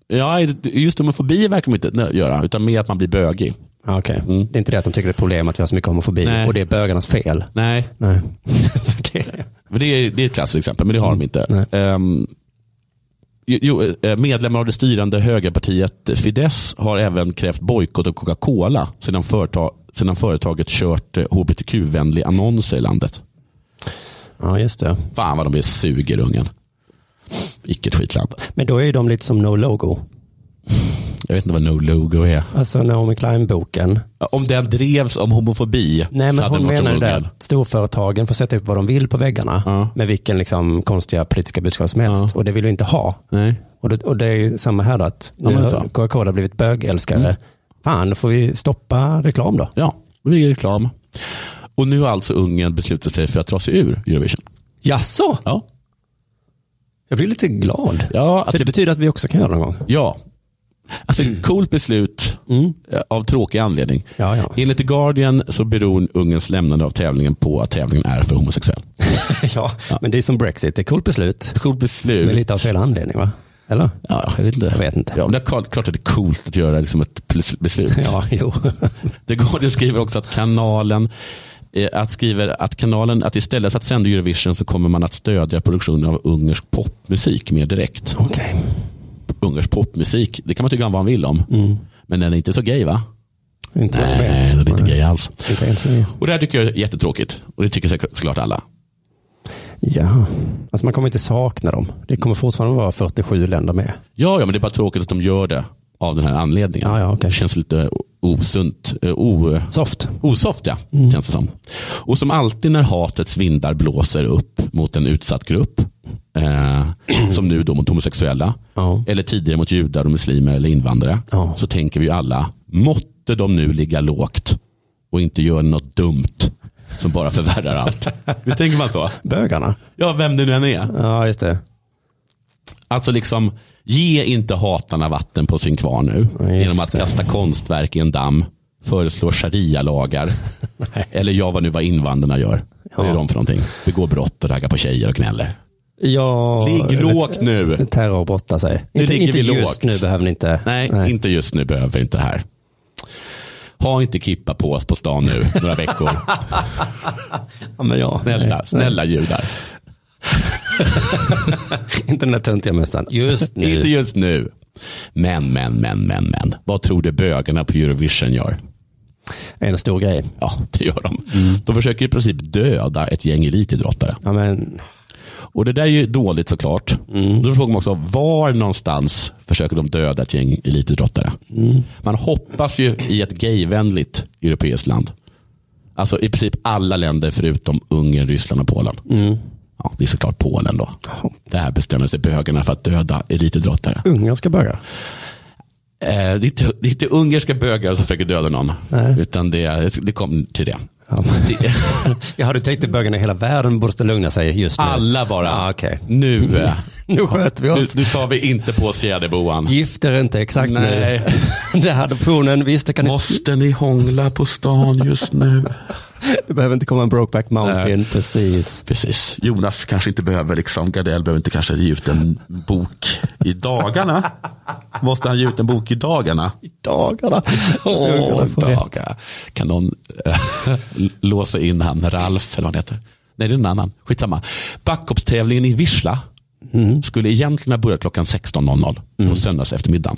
Ja, just homofobi verkar de inte nö- göra, utan mer att man blir bögig.
Ja, Ah, Okej, det är inte det att de tycker det är ett problem att vi har så mycket homofobi
Mm. Nej.
och det är bögarnas fel.
[LAUGHS] Nej,
Nej. För det-
för det är, det är ett klassiskt exempel, men det har de inte.
Nej.
Ehm, jo, eh, medlemmar av det styrande högerpartiet Fidesz har även krävt bojkott av Coca-Cola sedan, företag, sedan företaget kört eh, hbtq-vänlig annonser i landet.
ja, just det.
Fan vad de är suger ungen. Icke ett skitland.
Men då är ju de lite som no logo.
Ja, Jag vet inte vad No Logo är.
Alltså Naomi Klein-boken.
Om den drevs om homofobi
Nej,
så
men
hade
hon
den varit
menar ju det
omhuggad.
att storföretagen får sätta upp vad de vill på väggarna
Ja.
med vilken liksom, konstiga politiska budskap som helst.
Ja.
Och det vill du inte ha.
Nej.
Och det, och det är ju samma här då, att
Ja,
nu
men
har
så. Mm.
Coca-Cola blivit bögälskare. Fan, då får vi stoppa reklam då.
Ja, det blir reklam. Och nu har alltså Ungern beslutat sig för att dra sig ur Eurovision.
Jaså?
Ja,
Jag blir lite glad.
ja,
För
att
det
det,
betyder att vi också kan göra det någon gång.
ja. Alltså, coolt beslut eh, av tråkig anledning.
Mm. Ja, ja.
Enligt The Guardian så beror Ungerns lämnande av tävlingen på att tävlingen är för homosexuell.
[LAUGHS] ja, men det är som Brexit. Det är ett coolt beslut.
Coolt beslut.
Med lite av fel anledning, va? Eller?
Ja, jag vet inte.
Jag vet inte.
Ja, men det är klart klart att det är coolt att göra liksom ett pl- beslut.
[LAUGHS] Ja,
[LAUGHS]
jo.
Det går, det skriver också att kanalen eh, att skriver att kanalen att istället för att sända Eurovision så kommer man att stödja produktionen av ungersk popmusik mer direkt.
Okej.
Ungersk popmusik, det kan man tycka vad man vill om. Men den är inte så gay va?
Inte vad Mm. jag
Nej,
vet.
den är inte gay alls.
Inte ens vi.
Och det här tycker jag är jättetråkigt. Och det tycker säkert- såklart alla.
Ja, alltså man kommer inte sakna dem. Det kommer fortfarande vara 47 länder med.
Ja, ja, men det är bara tråkigt att de gör det av den här anledningen.
Ja, ja, okej.
Det känns lite o- osunt. eh, O,
Soft.
Osoft ja,
Mm.
känns det som. Och som alltid när hatets vindar blåser upp mot en utsatt grupp,
[CLEARS THROAT]
eh, som nu då mot homosexuella,
Ja.
eller tidigare mot judar och muslimer eller invandrare,
Ja.
så tänker vi ju alla, måtte de nu ligga lågt och inte göra något dumt som bara
[LAUGHS]
förvärrar allt. Visst tänker man så?
Bögarna.
Ja, vem det nu än är.
Ja, just det.
Alltså liksom, ge inte hatarna vatten på sin kvarn nu
Ja, just
genom att
det.
kasta konstverk i en damm, föreslå sharia-lagar eller jag vad nu vad invandrarna gör. Vad
Ja.
gör de för någonting? Begår brott och raggar på tjejer och gnäller.
Ja,
Ligg lågt nu.
terrorbrotta sig.
Nu
inte
ligger
inte
vi
just
lågt.
nu behöver ni inte.
Nej, inte just nu behöver vi inte det här. Ha inte kippa på oss på stan nu,
[LAUGHS]
några veckor.
Ja, men ja.
Snälla, snälla judar.
[LAUGHS] Inte den där töntiga mössan. Just nu.
Inte just nu. Men, men, men, men, men. Vad tror du bögarna på Eurovision gör?
En stor grej.
Ja, det gör de. De försöker i princip döda ett gäng elitidrottare.
Ja, men,
Och det där är ju dåligt såklart. Då frågar man också, var någonstans försöker de döda ett gäng elitidrottare? Man hoppas ju i ett gayvänligt europeiskt land. Alltså i princip alla länder förutom Ungern, Ryssland och Polen. Ja, det är såklart Polen då. Det här bestämmer sig bögarna för att döda elitidrottare.
Ungern ska börja.
Eh, det, är inte, det är inte ungerska bögar som försöker döda någon. Utan det, det kom till det.
[LAUGHS]
det [LAUGHS]
Jag hade tänkt att bögarna i hela världen borde lugna sig just nu.
alla bara,
Ja, okej.
nu, eh,
Nu sköter vi
nu,
oss.
nu tar vi inte på oss fjäderboan.
Gifter inte exakt [LAUGHS]
Nej.
nu. Det här adoptionen, visst det kan
Måste ni hångla på stan just nu?
Du behöver inte komma en Brokeback Mountain, precis. [LAUGHS]
Precis. Jonas kanske inte behöver, liksom, Gardell behöver inte kanske ge ut en bok i dagarna. Måste han ge ut en bok i dagarna?
Dagarna. Ungarna får rätt.
dagar. Kan någon eh, [LAUGHS] låsa in han, Ralf eller vad han heter? Nej, det är en annan. Skitsamma. Backhoppstävlingen i Vissla
Mm.
skulle egentligen ha börjat klockan 16.00 på söndags eftermiddagen.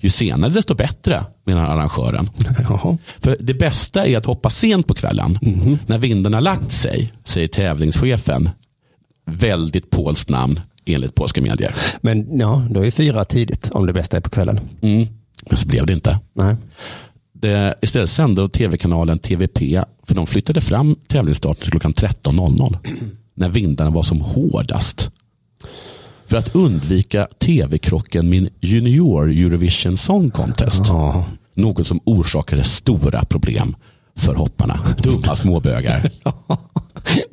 Ju senare desto bättre, menar arrangören.
Jaha.
För det bästa är att hoppa sent på kvällen. När vinden har lagt sig, säger tävlingschefen. Väldigt polskt namn enligt polska medier.
Men ja, då är fyra tidigt om det bästa är på kvällen.
Mm. Men så blev det inte.
Nej.
Det, istället sände tv-kanalen TVP, för de flyttade fram tävlingsstarten till klockan 13.00. När vindarna var som hårdast. För att undvika tv-krocken Min Junior Eurovision Song Contest.
Ja.
Något som orsakade stora problem för hopparna. Dumma småbögar.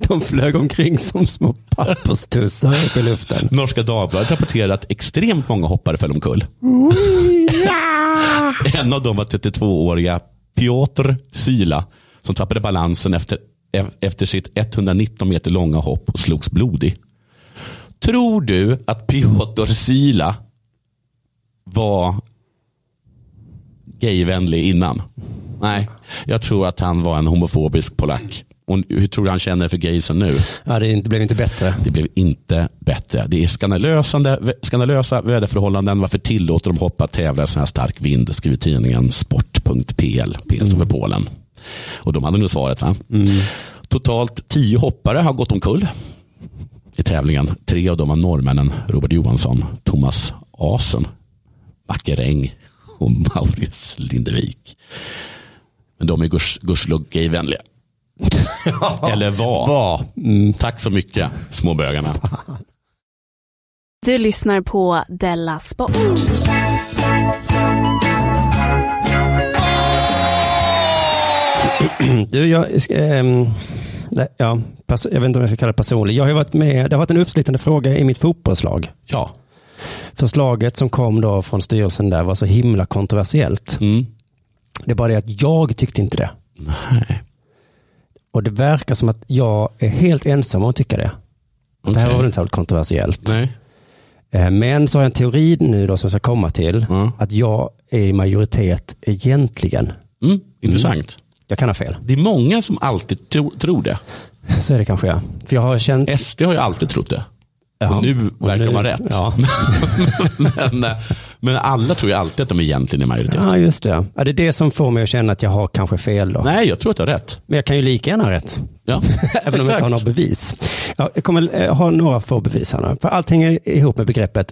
De flög omkring som små papperstussar upp i luften.
Norska Dagbladet rapporterar att extremt många hoppare föll omkull. en av dem var 32-åriga Piotr Syla som tappade balansen efter, e- efter sitt 119 meter långa hopp och slogs blodig. Tror du att Piotr Syla var gayvänlig innan? Nej, jag tror att han var en homofobisk polack. Och hur tror du han känner för gaysen nu?
Ja, det är inte- blev inte bättre.
Det blev inte bättre. Det är skandalösande, skandalösa väderförhållanden. Varför tillåter de hoppa tävla i sån här stark vind? Skriver tidningen sport.pl. PL står för Polen. Och de hade nog svaret. Va?
Mm.
Totalt tio hoppare har gått omkull i tävlingen. Tre av dem var norrmännen Robert Johansson, Thomas Asen, Macke Reng och Maurice Lindevik. Men de är guds- gudskelov
[LAUGHS]
gayvänliga. Eller var.
Var. Mm.
Tack så mycket, småbögarna.
Du lyssnar på Della Sport.
Du, jag, ska, ehm, nej, ja, pers- jag vet inte om jag ska kalla det personlig. Jag har ju varit med, det har varit en uppslitande fråga i mitt fotbollslag.
Ja.
Förslaget som kom då från styrelsen där var så himla kontroversiellt.
Mm.
Det är bara det att jag tyckte inte det.
Nej.
Och det verkar som att jag är helt ensam om att tycka det. Det här var väl inte särskilt kontroversiellt.
Nej.
Eh, Men så har jag en teori nu då som jag ska komma till.
Ja.
Att jag är i majoritet egentligen.
Mm. Intressant.
Jag kan ha fel.
Det är många som alltid tro, tror det.
Så är det kanske jag. För jag har känt...
SD har ju alltid trott det.
Ja.
Och nu verkar
nu-
de ha rätt.
Ja.
[LAUGHS] men, eh, men alla tror ju alltid att de egentligen är majoritet.
ja, just det. Ja, det är det som får mig att känna att jag har kanske fel då.
Nej, jag tror att jag har rätt.
Men jag kan ju lika gärna ha rätt.
Ja.
[LAUGHS] Även om jag inte har några bevis. Ja, jag kommer eh, ha några få bevis här nu. För allt hänger ihop med begreppet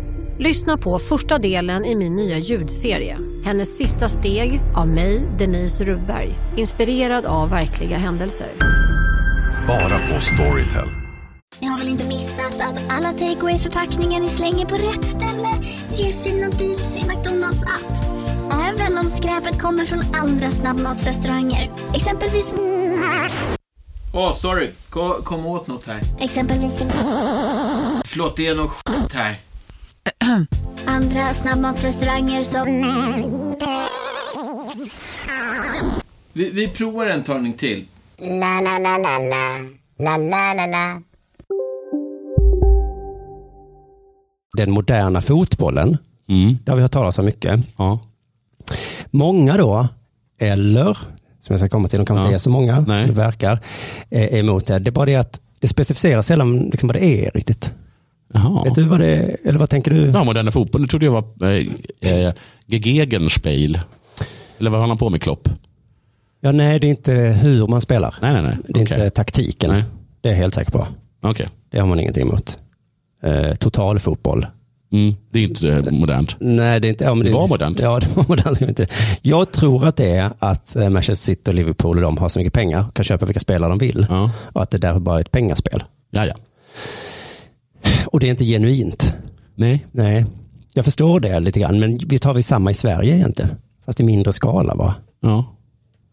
Lyssna på första delen i min nya ljudserie. Hennes sista steg av mig, Denise Rubberg. Inspirerad av verkliga händelser.
Bara på Storytel.
Ni har väl inte missat att alla takeaway förpackningar ni slänger på rätt ställe ger fina deals i McDonalds app. Även om skräpet kommer från andra snabbmatsrestauranger. Exempelvis...
Åh, sorry. Kom, kom åt något här.
Exempelvis...
Förlåt, det är något skit här.
Andra snabbmatsrestauranger som...
Vi, vi provar en talning till.
La, la, la, la, la. La, la, la, la.
den moderna fotbollen.
Mm.
Det har vi hört talas om mycket.
Ja.
Många då, eller, som jag ska komma till, de kanske
Ja.
inte är så många
Nej.
som det verkar, eh, är emot det. Det är bara det att det specificeras sällan liksom vad det är riktigt.
Jaha.
Vet du vad det är, eller vad tänker du?
Ja, moderna fotboll. Det trodde jag var eh, eh, Gegenspiel. Eller vad håller han på med, Klopp?
Ja, nej, det är inte hur man spelar.
Nej, nej, nej.
Det är
Okej.
inte taktiken.
Nej.
Det är jag helt säker på.
Okej.
Det har man ingenting emot. Eh, total fotboll.
Mm. Det är inte eh, modernt.
Nej, det är inte... Ja, men
Det var modernt.
Ja, [LAUGHS] det var modernt. Jag vet inte. Jag tror att det är att eh, Manchester City och Liverpool och de har så mycket pengar och kan köpa vilka spelare de vill.
Ja,
Och att det där bara är ett pengaspel.
ja. ja.
Och det är inte genuint.
Nej.
Nej, jag förstår det lite grann. Men visst har vi samma i Sverige egentligen? Fast i mindre skala va?
Ja.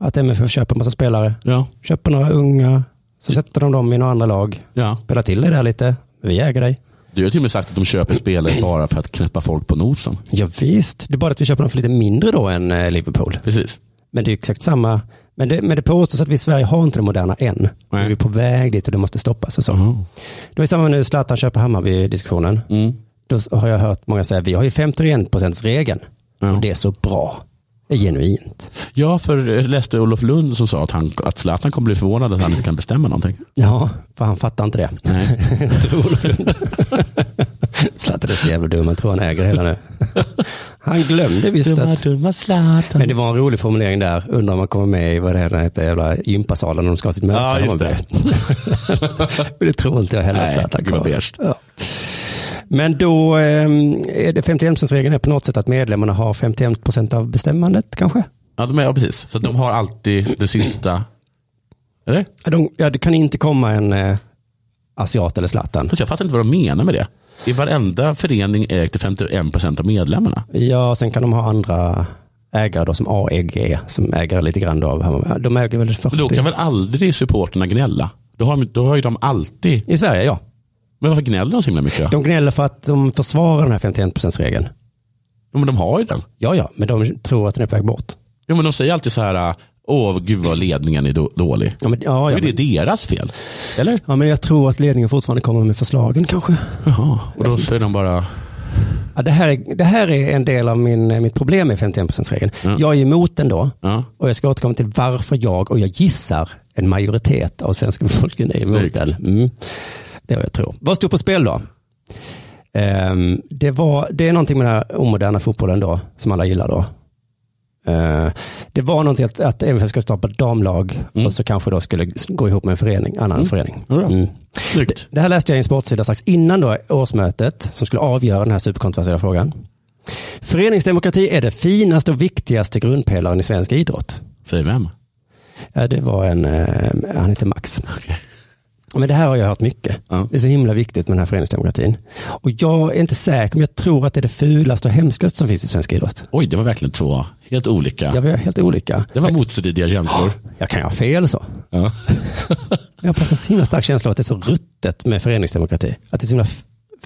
Att MFF köper en massa spelare,
Ja.
köper några unga, så sätter de dem i några andra lag,
ja.
spelar till dig där lite, vi äger dig.
Du har till och med sagt att de
[CLEARS THROAT]
köper spelare bara för att knäppa folk på nosen.
Ja, visst, det är bara att vi köper dem för lite mindre då än eh, Liverpool.
Precis.
Men det är ju exakt samma. Men det, men det påstås att vi i Sverige har inte det moderna än.
Nej.
Vi är på väg dit och det måste stoppas och så. Det var ju samma nu Zlatan köper Hammarby-diskussionen.
Mm.
Då har jag hört många säga, vi har ju 51%-regeln.
Ja.
Och det är så bra. Det är genuint.
Ja, för jag läste Olof Lund som sa att, han, att Zlatan kommer bli förvånad att han inte kan bestämma någonting.
[LAUGHS] Ja, för han fattar inte
[LAUGHS]
det.
Nej.
Zlatan är så jävla dum, han tror han äger
[LAUGHS]
hela nu. Han glömde visst att...
dumma Zlatan.
Men det var en rolig formulering där, undrar om man kommer med i vad det här heter, jävla gympasalen när de ska ha sitt möte.
Ja,
i
just det.
Hammarby. [LAUGHS] Men det tror inte jag heller
Nej,
att Zlatan
det var
kommer.
beige.
Ja. Men då ehm, är det 51%-regeln är på något sätt att medlemmarna har 51% av bestämmandet kanske?
Ja, de är, ja, precis. Så att de har alltid det sista. Eller?
Ja, De, ja, det kan inte komma en eh, asiat eller Zlatan.
Fast jag fattar inte vad de menar med det. I varenda förening ägt till 51% av medlemmarna.
Ja, sen kan de ha andra ägare då som AEG, som äger lite grann då av Hammarby. De äger väl
Men då kan
40?
väl aldrig supporterna gnälla? Då har, de- då har ju de alltid...
I Sverige, ja.
Men varför gnäller de så himla mycket?
De gnäller för att de försvarar den här 51%-regeln.
Ja, men de har ju den.
Ja, ja, men de tror att den är på väg bort.
Ja, men de säger alltid så här, åh gud vad ledningen är då- dålig.
Ja, men, ja,
Då
ja,
är det
men,
deras fel. Eller?
ja, men jag tror att ledningen fortfarande kommer med förslagen kanske.
Jaha. Och då säger de bara,
Ja, det, här, är- det här är en del av min, mitt problem med 51%-regeln.
Mm.
Jag är emot den då och jag ska återkomma till varför jag, och jag gissar en majoritet av svenska befolkningen är emot den. Mm. Det är vad jag tror. Vad stod på spel då? Ehm, det, var, det är någonting med den här omoderna fotbollen då, som alla gillar då. Eh, det var någonting att, att MFF ska starta ett damlag och så kanske då skulle s- gå ihop med en förening, annan
Mm.
förening.
Bra.
Mm. Det, det här läste jag i en sportsida strax innan då årsmötet som skulle avgöra den här superkontroversiella frågan. Föreningsdemokrati är det finaste och viktigaste grundpelaren i svensk idrott.
Säger vem?
Det var en, eh, han heter Max. Men det här har jag hört mycket. Det är så himla viktigt med den här föreningsdemokratin. Och jag är inte säker, men jag tror att det är det fulaste och hemskaste som finns i svensk idrott.
Oj, det var verkligen två helt olika.
Ja, vi har helt olika.
Det var motstridiga känslor.
Jag kan ju ha fel så. [LAUGHS] Jag har en så himla stark känsla av att det är så ruttet med föreningsdemokrati. Att det är så himla f-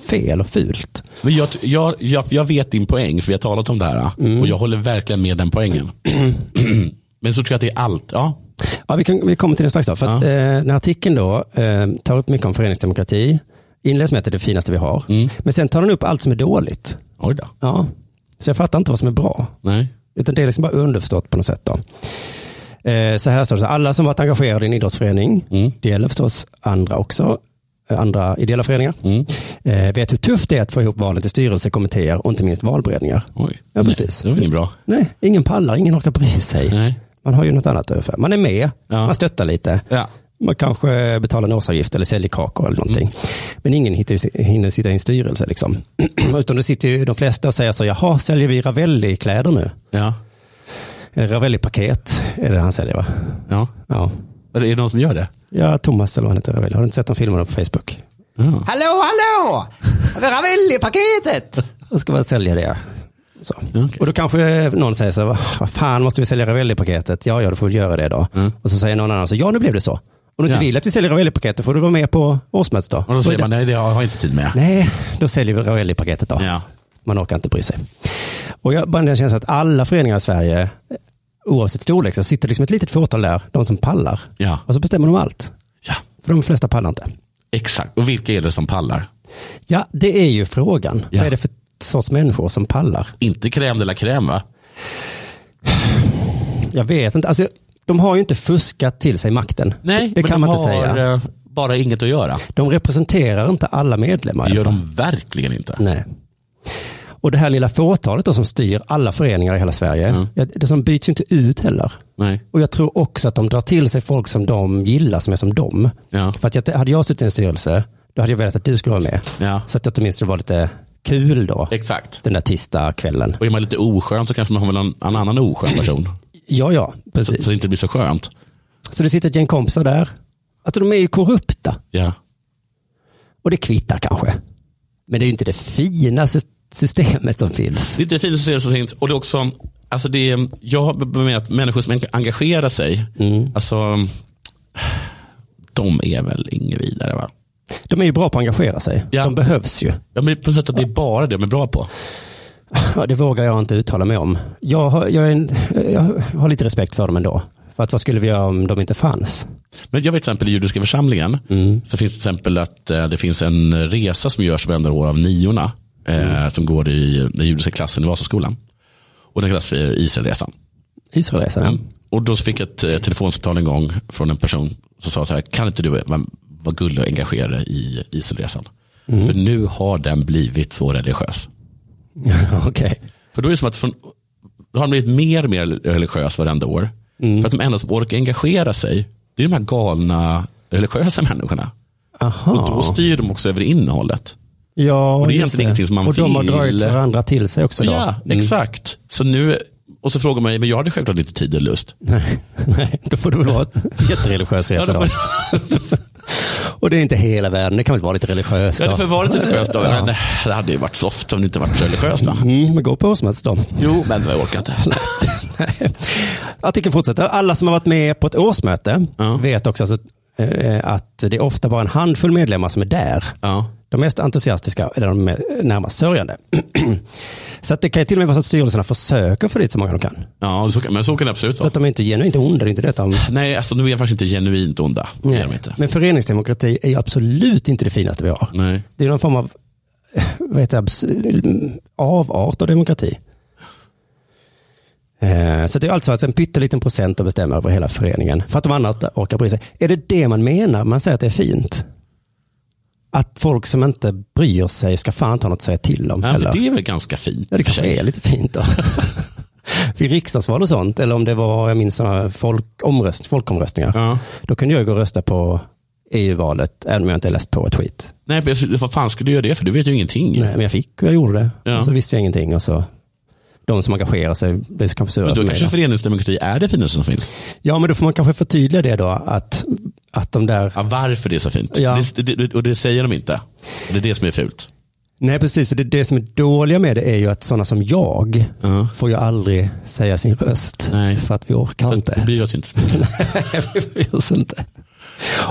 fel och fult.
Men jag, jag, jag, jag vet din poäng, för vi har talat om det här. Och jag håller verkligen med den poängen. [CLEARS THROAT] Men så tror jag att det är allt. Ja.
Ja, vi, kan, vi kommer till det strax. Då, för att, eh, den här artikeln då, eh, tar upp mycket om föreningsdemokrati. Inleds med att det är det finaste vi har. Men sen tar den upp allt som är dåligt.
Oj då.
Ja. Så jag fattar inte vad som är bra.
Nej.
Utan det är liksom bara underförstått på något sätt. Då. Eh, så här står det, så här, alla som varit engagerade i en idrottsförening, det gäller förstås andra också, eh, andra ideella föreningar, eh, vet hur tufft det är att få ihop valen till styrelsekommittéer och inte minst valberedningar. Ja, precis.
Det var väl inget bra.
Nej, ingen pallar, ingen orkar bry sig. Man har ju något annat över. Man är med, man stöttar lite. Man kanske betalar en årsavgift eller säljer kakor eller någonting. Men ingen hittar- hinner sitta i en styrelse. Liksom. [CLEARS THROAT] Utan då sitter ju de flesta och säger så, jaha, säljer vi Ravelli-kläder nu?
Ja.
Ravelli-paket Eh, är det han säljer va?
Ja.
ja.
Är det någon som gör det?
Ja, Thomas eller vad han heter, Ravelli. Har du inte sett de filmerna på Facebook?
Hallå, hallå! Ravelli-paketet!
Då ska man sälja det. Så. Och då kanske eh, någon säger så här, vad fan måste vi sälja Ravelli-paketet? Ja, ja, då får vi göra det då. Och så säger någon annan så, ja nu blev det så. Om du inte
Mm. Ja.
vill att vi säljer Ravelli-paketet då får du vara med på årsmötet då.
Och då säger man, nej det har jag inte tid med.
Nej, då säljer vi Ravelli-paketet då. Man orkar inte bry sig. Och jag bara den känslan att alla föreningar i Sverige, oavsett storlek, så sitter liksom ett litet fåtal där, de som pallar. Och så bestämmer de allt. För de flesta pallar inte.
Exakt, och vilka är det som pallar?
Ja, det är ju frågan. Vad är det för sorts människor som pallar?
Inte crème de la crème va?
Jag vet inte. Alltså, de har ju inte fuskat till sig makten.
Nej,
det
men
kan
de
man inte
har,
säga.
eh, bara inget att göra.
De representerar inte alla medlemmar.
Det gör de verkligen inte.
Nej. Och det här lilla fåtalet då som styr alla föreningar i hela Sverige,
Mm.
ja, det som byts ju inte ut heller.
Nej.
Och jag tror också att de drar till sig folk som de gillar, som är som dem. För att jag, hade jag suttit i en styrelse, då hade jag velat att du skulle vara med. Så att det åtminstone var lite kul då.
Exakt.
Den där tisdagskvällen.
Och är man lite oskön så kanske man har väl en, en annan oskön person.
Ja, ja, Mm. precis.
Så, så det inte blir så skönt.
Så det sitter ett gäng kompisar där. Alltså de är ju korrupta.
Ja.
Och det kvittar kanske. Men det är ju inte det finaste systemet som finns.
Det är inte det finaste systemet som finns. Och det är också, alltså det är, jag har bemärkt att människor som engagerar sig,
Mm.
alltså, de är väl inget vidare va?
De är ju bra på att engagera sig. De behövs ju.
Ja, men på sätt att det är bara det de är bra på.
Ja, det vågar jag inte uttala mig om. Jag har, jag, är en, jag har lite respekt för dem ändå. För att vad skulle vi göra om de inte fanns? Mm.
Men jag vet till exempel i judiska församlingen så finns det till exempel att eh, det finns en resa som görs varje år av niorna eh, som går i den judiska klassen i Vasaskolan. Och den kallas för Israelresan.
Israelresan, ja.
Och då fick jag ett eh, telefonsamtal en gång från en person som sa så här, kan inte du vara- vara gullig och engagera dig i Israelresan? För nu har den blivit så religiös.
[LAUGHS] Okej.
För då är det som att från, då har de blivit mer och mer religiös varenda år. För att de enda som orkar engagera sig, det är de här galna religiösa människorna. Och då styr de också över innehållet.
Ja,
Och det är
just
egentligen ingenting som man
Och de har
vill.
dragit varandra till sig också. Då.
Ja,
Mm.
exakt. Så nu, och så frågar man mig, men jag hade självklart inte tid eller lust.
[LAUGHS] Nej, nej, då får du väl
[LAUGHS]
vara en jättereligiös resa. då. och det är inte hela världen, det kan väl vara lite religiöst.
Jag
då.
hade för varit religiöst då, men eh, det hade ju varit soft om det inte varit religiöst. Va?
Mm, men gå på årsmötet då.
Jo, men jag orkar inte.
Artikeln fortsätter. Alla som har varit med på ett årsmöte vet också att, eh, att det är ofta bara en handfull medlemmar som är där. De mest entusiastiska eller de me- närmast sörjande. [CLEARS THROAT] så att det kan ju till och med vara så att styrelserna försöker få dit så många de kan.
Ja, så, kan- men så kan det absolut
Så
vara.
att de är inte genuint onda, det är inte det. utan-
Nej, alltså nu är de faktiskt inte genuint onda. Det är de inte.
Men föreningsdemokrati är ju absolut inte det finaste vi har.
Nej.
Det är någon form av [LAUGHS] vad heter det, abs- avart av demokrati. Eh, Så det är alltså att en pytteliten procent att bestämma över hela föreningen för att de andra inte orkar bry sig. Är det det man menar? Man säger att det är fint? Att folk som inte bryr sig ska fan inte ha något att säga till om.
Ja, för
heller.
det är väl ganska fint.
Ja, det kanske är lite fint då. [LAUGHS] Vid riksdagsval och sånt, eller om det var, jag minns sådana folk, omröst, folkomröstningar. Då kunde jag gå och rösta på EU-valet, även om jag inte läst på ett skit.
Nej, men vad fan skulle du göra det för? Du vet ju ingenting.
Nej, men jag fick och jag gjorde det.
Ja.
Och så visste jag ingenting och så, de som engagerar sig blir så kanske sura
Men då
på mig
kanske
då.
föreningsdemokrati är det finaste som finns.
Ja, men då får man kanske förtydliga det då, att, att de där...
Ja, varför det är så fint.
Ja.
Det, det- det, och det säger de inte. Och det är det som är fult.
Nej, precis, för det, det som är dåliga med det är ju att sådana som jag får ju aldrig säga sin röst. För att vi orkar inte.
Det bryr oss inte så mycket.
Nej, vi [LAUGHS] bryr oss inte.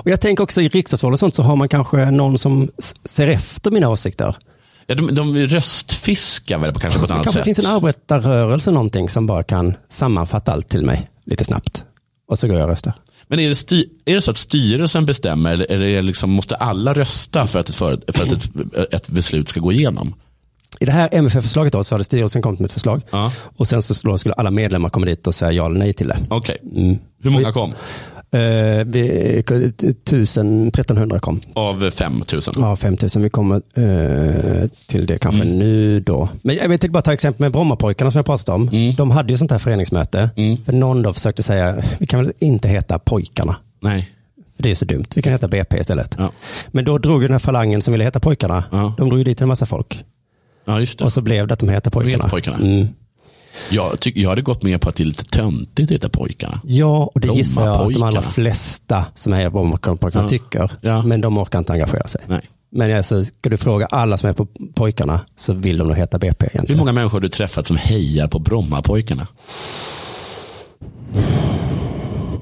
Och jag tänker också i riksdagsval och sånt så har man kanske någon som s- ser efter mina åsikter.
Ja, de, de röstfiskar väl på, kanske på ett
Det
annat
kanske
sätt.
finns en arbetarrörelse någonting som bara kan sammanfatta allt till mig lite snabbt. Och så går jag och röstar.
Men är det, sty- är det så att styrelsen bestämmer eller, eller är det liksom, måste alla rösta för att, ett, för, för att ett, ett beslut ska gå igenom?
I det här MFF-förslaget då, så hade styrelsen kommit med ett förslag. Och sen så då skulle alla medlemmar komma dit och säga ja eller nej till det.
Okej.
Mm.
Hur många kom?
Eh, vi, 1000, 1300 kom.
Av 5 000?
Ja, 5000. Vi kommer eh, till det kanske
Mm.
nu då. Men jag tänkte bara ta exempel med Brommapojkarna som jag pratat om.
Mm.
De hade ju sånt här föreningsmöte. För någon då försökte säga, vi kan väl inte heta pojkarna.
Nej.
För det är så dumt. Vi kan heta BP istället. Men då drog ju den här falangen som ville heta pojkarna. De drog ju dit en massa folk.
Ja, just det.
Och så blev det att de hette
De heter
pojkarna. Mm.
pojkarna. Jag, tyck, jag hade gått med på att det är lite töntigt att heta pojkarna.
Ja, och det gissar jag att de
Brommapojkarna.
allra flesta som är på Brommapojkarna
Ja.
tycker. Men de orkar inte engagera sig. Men alltså, ska du fråga alla som är på pojkarna så vill de nog heta BP egentligen.
Hur många människor har du träffat som hejar på Brommapojkarna?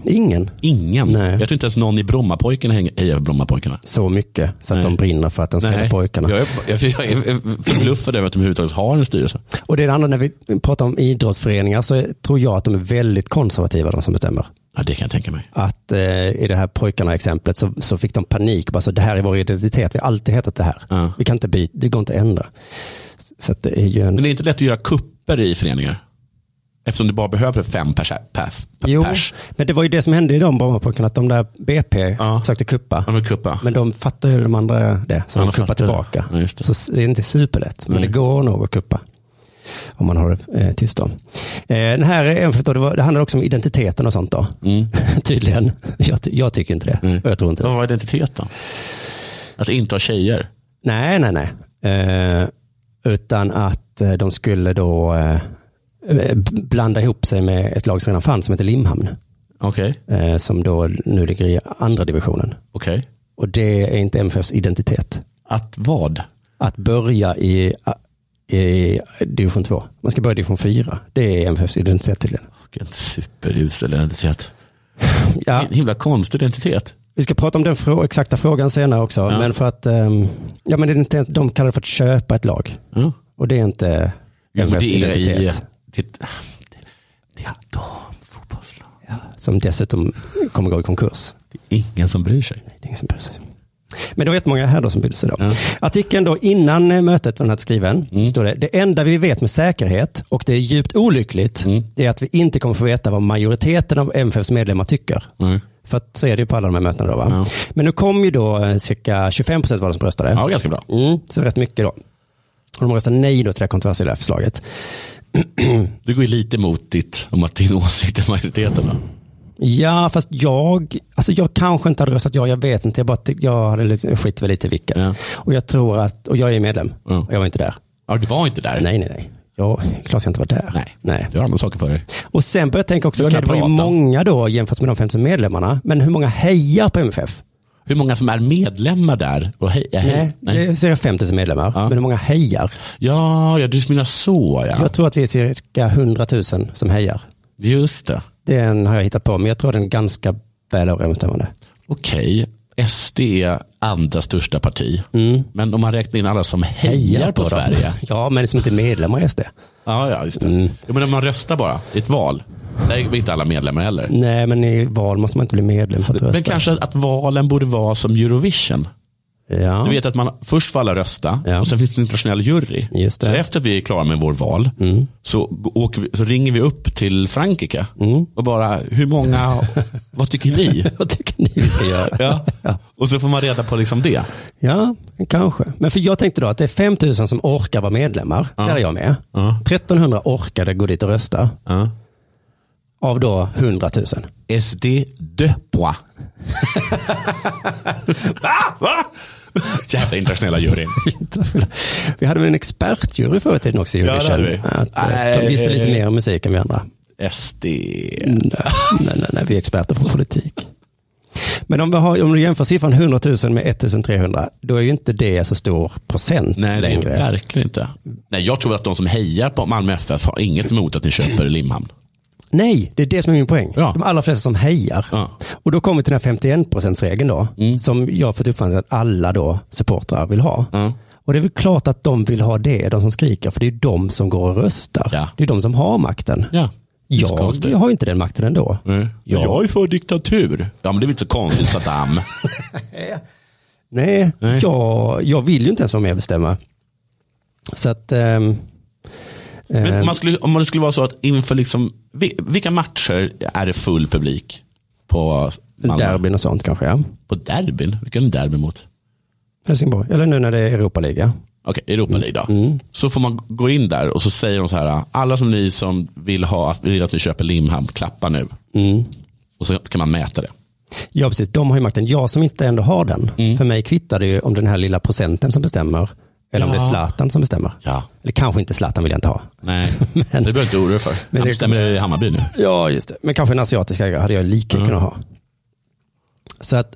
Ingen.
Ingen? Jag tror inte ens någon i Brommapojkarna häng- hejar på Brommapojkarna.
Så mycket så att de brinner för att den ska
Nej.
heta pojkarna.
Jag är, jag, jag är förbluffad över att de överhuvudtaget har en styrelse.
Och det är det andra, när vi pratar om idrottsföreningar så tror jag att de är väldigt konservativa de som bestämmer.
Ja, det kan jag tänka mig.
Att eh, i det här pojkarna-exemplet så, så fick de panik. Bara så, det här är vår identitet, vi har alltid hetat det här. Vi kan inte byta, det går inte att ändra. Så att det är ju en...
Men det är inte lätt att göra kupper i föreningar. Eftersom du bara behöver fem pers. pers,
Jo,
pers.
men det var ju det som hände i de Brommapojkarna, att de där BP försökte kuppa. Men de fattade ju de andra det, så de kuppade tillbaka. Så s- det är inte superlätt, men det går nog att kuppa. Om man har det eh, tyst om. Eh, den här, är en för- då, det, var, det handlar också om identiteten och sånt då. [LAUGHS] Tydligen. Jag, ty- jag tycker inte det. Och jag tror inte det.
Mm. Vad var identiteten? Att inte ha tjejer?
Nej, nej, nej. Eh, utan att eh, de skulle då eh, eh, blanda ihop sig med ett lag som redan fanns som heter Limhamn.
Okej.
Eh, som då nu ligger i andra divisionen.
Okej.
Och det är inte MFFs identitet.
Att vad?
Att börja i, i division 2. Man ska börja i division 4. Det är MFFs identitet tydligen.
Vilken superusel identitet. Ja. En himla konstig identitet.
Vi ska prata om den frå exakta frågan senare också. Men för att, ehm, ja men det är inte, de kallar det för att köpa ett lag. Och det är inte
Jo,
MFFs
det är
identitet.
i... Det,
Som dessutom kommer gå i konkurs.
Det är ingen som bryr sig.
Det är ingen som bryr sig. Men det var jättemånga här då som brydde sig. Då. Artikeln då innan eh, mötet var den här skriven. Står det, det enda vi vet med säkerhet, och det är djupt olyckligt, det är att vi inte kommer få veta vad majoriteten av MFFs medlemmar tycker. För att så är det ju på alla de här mötena. Då, va? Men nu kom ju då eh, cirka 25 procent var de som röstade.
Ja, ganska bra.
Mm, så det är rätt mycket då. Och de röstade nej då till det här kontroversiella förslaget.
det går ju lite emot ditt, om att din åsikt är majoriteten. Då.
Ja, fast jag, alltså jag kanske inte hade röstat ja, jag vet inte. Jag, bara, tyck- jag hade lite, jag skit väl lite i vilka. Och jag tror att, och jag är medlem, och jag var inte där.
Ja, du var inte där?
Nej, nej, nej. Jag, klart jag inte var där. Nej. nej.
Du har andra saker för dig.
Och sen började jag tänka också,
Du har
okej,
den
det
här
var ju
pratan.
många då jämfört med de 50 medlemmarna, men hur många hejar på MFF?
Hur många som är medlemmar där? Och hej, eh, hej,
Nej, det
Mm.
är cirka 5 000 medlemmar, men hur många hejar?
Ja, ja du menar så ja.
Jag tror att vi är cirka 100 000 som hejar.
Just det.
Den har jag hittat på, men jag tror den är ganska väl överensstämmande.
Okej, SD är andra största parti. Men om man räknar in alla som Mm. hejar, på,
dem.
Sverige.
[LAUGHS] Ja, men som inte är medlemmar i SD.
Ja, ja, just det. Jag menar, man röstar bara i ett val. Där är inte alla medlemmar heller.
Nej, men i val måste man inte bli medlem för att rösta.
Men kanske att valen borde vara som Eurovision. Du vet att man först får alla rösta och sen finns det en internationell jury.
Just det.
Så efter att vi är klara med vår val så, g- åker vi, så ringer vi upp till Frankrike och bara, hur [LAUGHS] många, [LAUGHS] vad tycker ni?
vad tycker ni vi ska göra?
ja. Och så får man reda på liksom det.
Ja, kanske. Men för jag tänkte då att det är 5 000 som orkar vara medlemmar. Där är jag med. 1300 orkade gå dit och rösta. Av då 100 000. [LAUGHS]
SD de pois. [LAUGHS] Va? Va? Jävla internationella juryn.
Vi hade väl en expertjury förr i tiden också i
Ja, det
Eurovision.
hade vi.
Att, eh, de
Nej.
visste lite mer om musik än vi andra. Mm,
SD.
Nej, nej, nej, nej vi är experter på politik. Men om, vi har, om du jämför siffran 100 000 med 1300, då är ju inte det så stor procent
Nej, det är
längre.
verkligen inte. Nej, jag tror att de som hejar på Malmö FF har inget emot att ni köper Limhamn.
Nej, det är det som är min poäng. De allra flesta som hejar. Och då kommer vi till den här 51 procentsregeln då,
Mm.
som jag har fått uppfattningen att alla då supportrar vill ha. Och det är väl klart att de vill ha det, de som skriker, för det är ju de som går och röstar. Det är de som har makten.
Ja. Det är så
Jag,
konstigt.
jag har ju inte den makten ändå.
Mm. Ja. Jag är för diktatur. Ja, men det är väl inte så konstigt [LAUGHS] Saddam.
Nej, Jag, jag vill ju inte ens vara med och bestämma. Så att... ehm,
Men
ehm,
om, man skulle, om det skulle vara så att inför liksom, vi- vilka matcher är det full publik på Malmö?
Derbyn och sånt kanske ja.
På derbyn? Vilka är det derby mot?
Helsingborg, eller nu när det är Europaliga.
Okej, Europa League då. Så får man gå in där och så säger de så här, alla som ni som vill, ha, vill att vi köper Limhamn, klappa nu. Och så kan man mäta det.
Ja, precis. De har ju makten. Jag som inte ändå har den. För mig kvittar det ju om den här lilla procenten som bestämmer. Eller om det
Ja.
är Zlatan som bestämmer. Eller kanske inte Zlatan vill jag inte ha.
Nej, [LAUGHS] men, det behöver du inte oroa dig för. Men det stämmer i Hammarby nu.
Ja, just det. Men kanske en asiatisk ägare hade jag lika kunnat ha. Så att,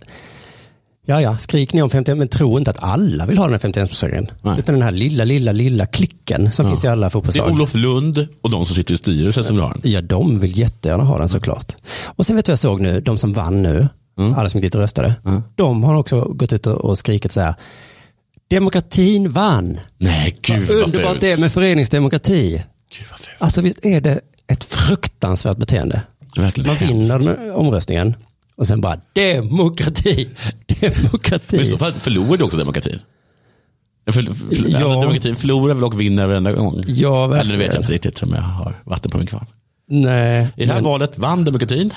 ja, ja, skrik ni om 51, men tro inte att alla vill ha den här 51-procenten. Utan den här lilla, lilla, lilla klicken som finns i alla
Det
fotbollslag.
är Olof Lund och de som sitter i styrelsen som vill ha den.
Ja, de vill jättegärna
Mm.
ha den såklart. Och sen vet du vad jag såg nu, de som vann nu,
Mm.
alla som gick dit och röstade, de har också gått ut och- och skrikit så här, demokratin vann.
Nej, gud vad
Underbart
fult.
det är med föreningsdemokrati. Alltså visst är det ett fruktansvärt beteende.
Verkligen
Man vinner den omröstningen och sen bara demokrati, [LAUGHS] demokrati.
Men i så fall förlorar du också demokratin. För, för,
Ja.
alltså, demokratin förlorar väl och vinner varenda gång.
Ja, verkligen.
Eller det vet jag inte riktigt som jag har vatten på min kvarn.
Nej.
I det här
men-
valet vann demokratin.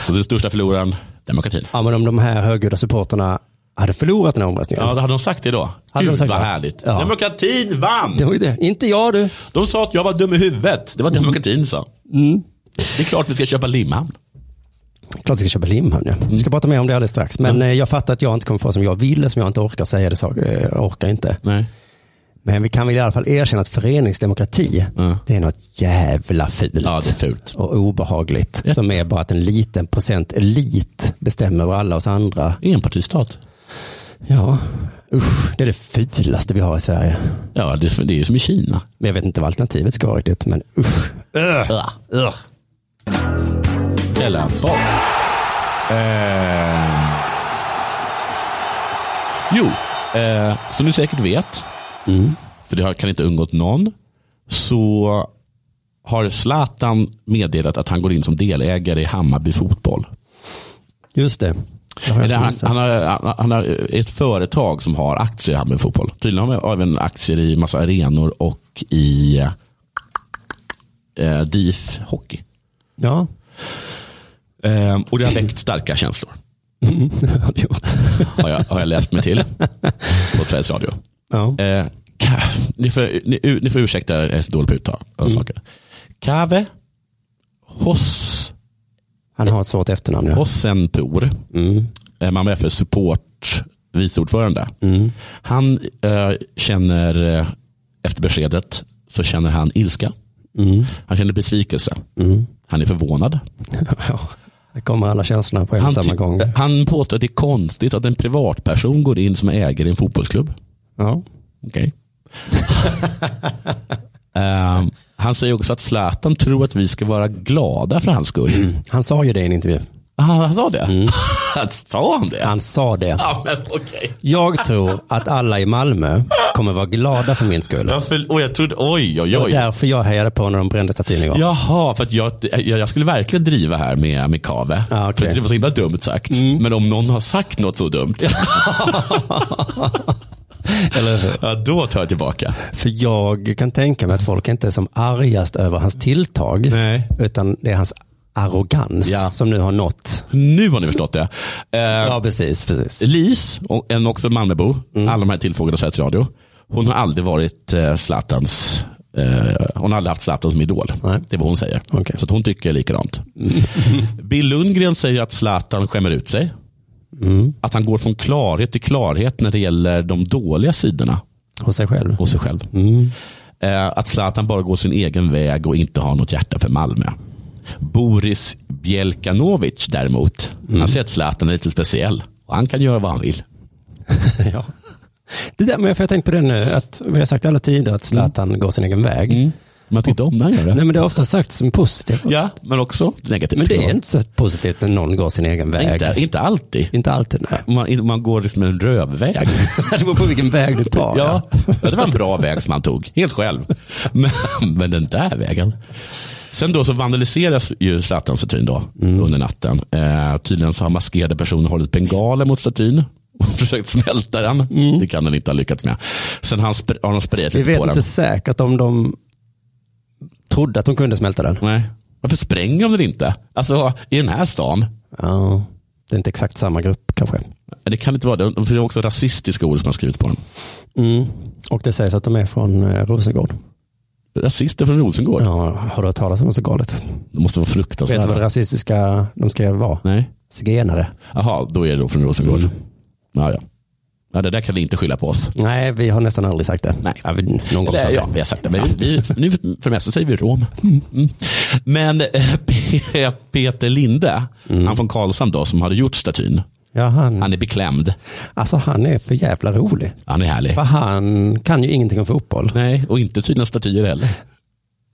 Så den största förloraren, demokratin.
Ja, men om de här högljudda supporterna hade förlorat den här omröstningen.
Ja, då hade de sagt det då.
Hade de
Gud
sagt
vad
det?
härligt.
Ja.
Demokratin vann!
Det var ju det. Inte jag du.
De sa att jag var dum i huvudet. Det
Mm.
var demokratin sa. Det är klart vi ska köpa Limhamn.
Klart vi ska köpa Limhamn. Ja.
Mm.
Vi ska prata mer om det alldeles strax. Men eh, jag fattar att jag inte kommer få som jag vill, som jag inte orkar säga det. sak- eh, Jag orkar inte. Men vi kan väl i alla fall erkänna att föreningsdemokrati,
Mm.
det är något jävla fult. Och obehagligt. Som är bara att en liten procent elit bestämmer över alla oss andra.
Enpartistat.
Ja, usch. Det är det fulaste vi har i Sverige.
Ja, det, det är ju som i Kina.
Men jag vet inte vad alternativet ska vara riktigt, men usch.
Ugh. Della Sport. Eh. Jo, eh, som du säkert vet, för det har- kan inte undgått någon, så har Zlatan meddelat att han går in som delägare i Hammarby fotboll.
Just det.
Eller han, han, har, han, han har ett företag som har aktier i Hammarby fotboll. Tydligen har han även aktier i massa arenor och i eh, DIF hockey.
Ja. [LAUGHS]
Ehm, och det har väckt starka känslor. har, jag, har jag läst
[LAUGHS]
mig till på Sveriges Radio.
Ja.
Eh, ka- ni, får, ni, ni får ursäkta jag är så dålig på uttal av
Mm.
saker. Kave Hoss,
Han har ett svårt efternamn. Ja.
Hossenpor,
Mm.
eh, Malmö FF support viceordförande.
mm,
Han eh, känner, eh, efter beskedet, så känner han ilska.
Mm.
Han känner besvikelse. Han är förvånad.
Ja, det kommer alla känslorna på en
Han,
samma
ty-
gång.
han påstår att det är konstigt att en privatperson går in som ägare i en fotbollsklubb.
Ja.
Okej. [LAUGHS] Ehm, han säger också att Zlatan tror att vi ska vara glada för hans skull.
Han sa ju det i en intervju.
Han sa det? [LAUGHS] sa Mm. han det?
Han sa det.
Ja, men okej.
Jag tror att alla i Malmö kommer vara glada för min skull.
Ja, för, och jag trodde, oj, oj,
Det var
oj.
därför jag hejade på när de brände statyn igång.
Jaha, för att jag, jag, jag skulle verkligen driva här med, med Kave. För att det var så himla dumt sagt. Men om någon har sagt något så dumt. ja, då tar jag tillbaka.
För jag kan tänka mig att folk inte är som argast över hans tilltag. Utan det är hans arrogans
Ja.
som nu har nått.
Nu har ni förstått det. Eh,
ja, precis, precis.
Lis, och en också Malmöbo, alla de här tillfrågade av Sveriges Radio. Hon har aldrig varit eh, Zlatans eh, hon har aldrig haft Zlatan som idol. Det är vad hon säger. Så att hon tycker likadant. [LAUGHS] Bill Lundgren säger att Zlatan skämmer ut sig.
Mm.
Att han går från klarhet till klarhet när det gäller de dåliga sidorna.
Hos sig själv. Mm.
Hos sig själv. Eh, att Zlatan bara går sin egen väg och inte har något hjärta för Malmö. Boris Bjelkanovic däremot, han säger att Zlatan är lite speciell. Och han kan göra vad han vill.
[LAUGHS] ja. Det där, men jag får tänka på det nu, att vi har sagt alla tider att Zlatan går sin egen väg.
Men jag tyckte om när han gör det.
Nej, men det har ofta sagts som positivt.
Ja, men också negativt.
Men det är inte så positivt när någon går sin egen väg.
Inte, inte alltid.
Inte alltid, nej.
Man, man går liksom en rövväg.
[LAUGHS] Det beror på vilken väg du tar.
Ja, det var en bra väg som han tog, helt själv. Men, men den där vägen. Sen då så vandaliseras ju Zlatans statyn då, under natten. Eh, tydligen så har maskerade personer hållit bengaler mot statyn och försökt smälta den. Det kan den inte ha lyckats med. Sen har, han spr- har de sprejat
Vi
lite
vet
på
inte
den.
säkert om de trodde att de kunde smälta den.
Nej. Varför spränger de den inte? Alltså i den här stan.
Ja, det är inte exakt samma grupp kanske.
Det kan inte vara det, för det är också rasistiska ord som har skrivits på den.
Mm. Och det sägs att de är från eh, Rosengård.
Rasister från Rosengård?
Ja, har du hört talas om något så galet?
Det måste vara
Vet
fruktansvärt.
du vad det rasistiska de skrev var?
Nej.
Zigenare.
Jaha, då är det då från Rosengård.
Mm.
Ja, ja. ja, det där kan vi inte skylla på oss.
Nej, vi har nästan aldrig sagt det. Nej. Ja, vi, någon gång
Eller,
sa vi.
ja, vi har sagt det. Men vi, vi, nu för det mesta säger vi rom. Mm. Men eh, Pe- Peter Linde,
Mm.
han från Karlshamn då, som hade gjort statyn.
Ja, han,
Han är beklämd.
alltså han är för jävla rolig.
Han är härlig.
För han kan ju ingenting om fotboll.
Nej, och inte tydligen statyer heller.
Mm.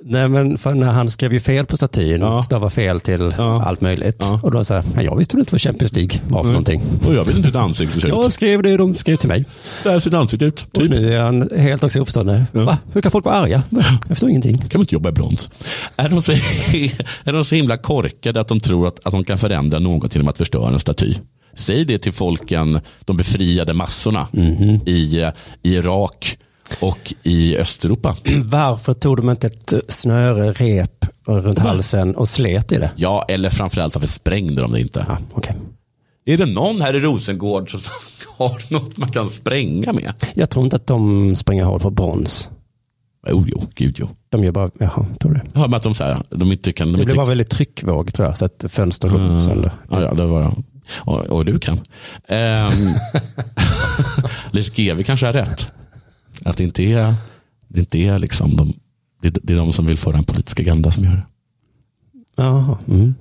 Nej, men för när han skrev ju fel på statyn, stavade fel till allt möjligt. Och då sa jag, "Nej, jag visste väl inte vad Champions League var för någonting.
Och jag vet inte hur ett ansikte ser ut.
Jag skrev det de skrev till mig.
Där ser ett ansikte ut. Typ.
Och nu är han helt också uppstående. Va? Hur kan folk vara arga? Jag förstår ingenting.
kan man inte jobba i brons. Är de så, [LAUGHS] är de så himla korkade att de tror att, att de kan förändra något genom att förstöra en staty? Säg det till folken, de befriade massorna i, eh, i Irak och i Östeuropa.
Varför tog de inte ett snöre, rep runt halsen och slet i det?
Ja, eller framförallt varför sprängde de det inte? Är det någon här i Rosengård som [LAUGHS] har något man kan spränga med?
Jag tror inte att de spränger hål på brons.
Jo, jo, gud jo.
De gör bara, jaha, tror du?
Jag hör med att de, så här, de inte kan... De
Det
inte
blev bara väldigt tryckvåg tror jag, så att fönster går
Mm.
sönder.
Ja, ja, det var jag. Och, och du kan. Um, Lirk Evi kanske har rätt. Att det inte är, det inte är liksom de, det, är- det är de som vill föra en politisk agenda som gör det.
Jaha, mm.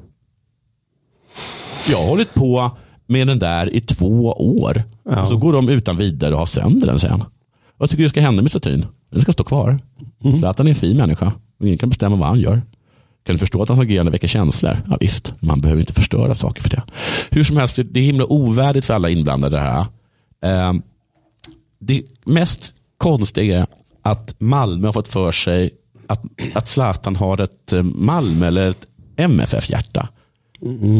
Jag har hållit på med den där i två år.
Ja.
Och så går de utan vidare och har sönder den sen. Vad tycker du ska hända med statyn? Den ska stå kvar. Zlatan är en fin människa. Och ingen kan bestämma vad han gör. Kan du förstå att hans agerande väcker känslor? Ja, visst, man behöver inte förstöra saker för det. Hur som helst, det är himla ovärdigt för alla inblandade det här. Ehm, Det mest konstiga är att Malmö har fått för sig att, att Zlatan har ett eh, Malmö eller ett MFF-hjärta.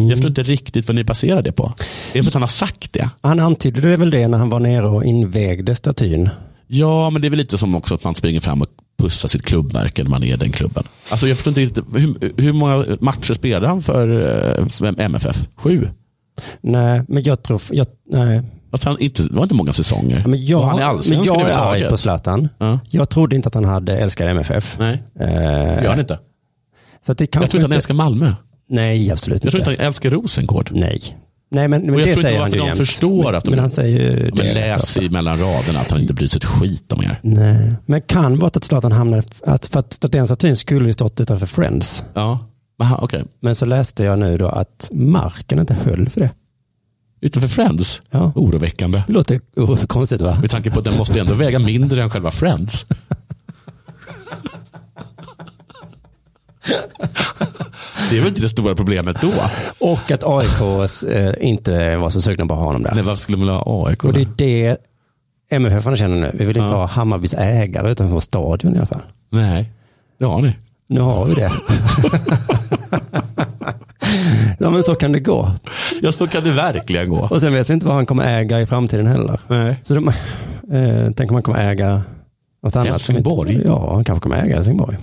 Jag förstår inte riktigt vad ni baserar det på. Är det för att han har sagt det?
Han antydde det väl det när han var nere och invigde statyn.
Ja, men det är väl lite som också att man springer fram och pussar sitt klubbmärke när man är i den klubben. Alltså jag förstår inte riktigt, hur, hur många matcher spelade han för eh, för MFF? Sju?
Nej, men jag tror, jag, nej.
Att han inte, det var inte många säsonger.
Men jag,
Och han är allsvenskan
men jag är
överhuvudtaget.
arg på Zlatan. Jag trodde inte att han hade älskat MFF.
Nej,
Eh,
det gör han inte.
Så att det
Jag
kanske
tror inte han älskar Malmö.
Nej, absolut
Jag tror
inte.
inte han älskar Rosengård.
Nej. Nej, men, men
och jag
det
tror inte
säger han
varför
ju
de
jämt.
förstår
men,
att de...
Men han säger ju
Ja, men
det.
läs i mellan raderna att han inte bryr sig ett skit om er.
Nej. Men kan vara att Zlatan hamnade, att, för att den statyn skulle ju stått utanför Friends.
Ja, Aha, okej.
Men så läste jag nu då att marken inte höll för det.
Utanför Friends?
Ja.
Oroväckande.
Det låter oh, konstigt va?
Med tanke på att den måste ändå väga mindre än själva Friends. det är väl inte det stora problemet då?
Och att AIK eh, inte var så sugna på att ha honom där.
Nej, varför skulle man ha AIK?
Och det är det MFF känner nu. Vi vill inte ha Hammarbys ägare utanför vår stadion i alla fall.
Nej, det har ni.
Nu har vi
[LAUGHS]
det. ja, men så kan det gå.
Ja, så kan det verkligen gå.
Och sen vet vi inte vad han kommer äga i framtiden heller.
Nej.
Så de, eh, tänk om han kommer äga något annat.
Helsingborg?
Som inte, ja, han kanske kommer äga Helsingborg.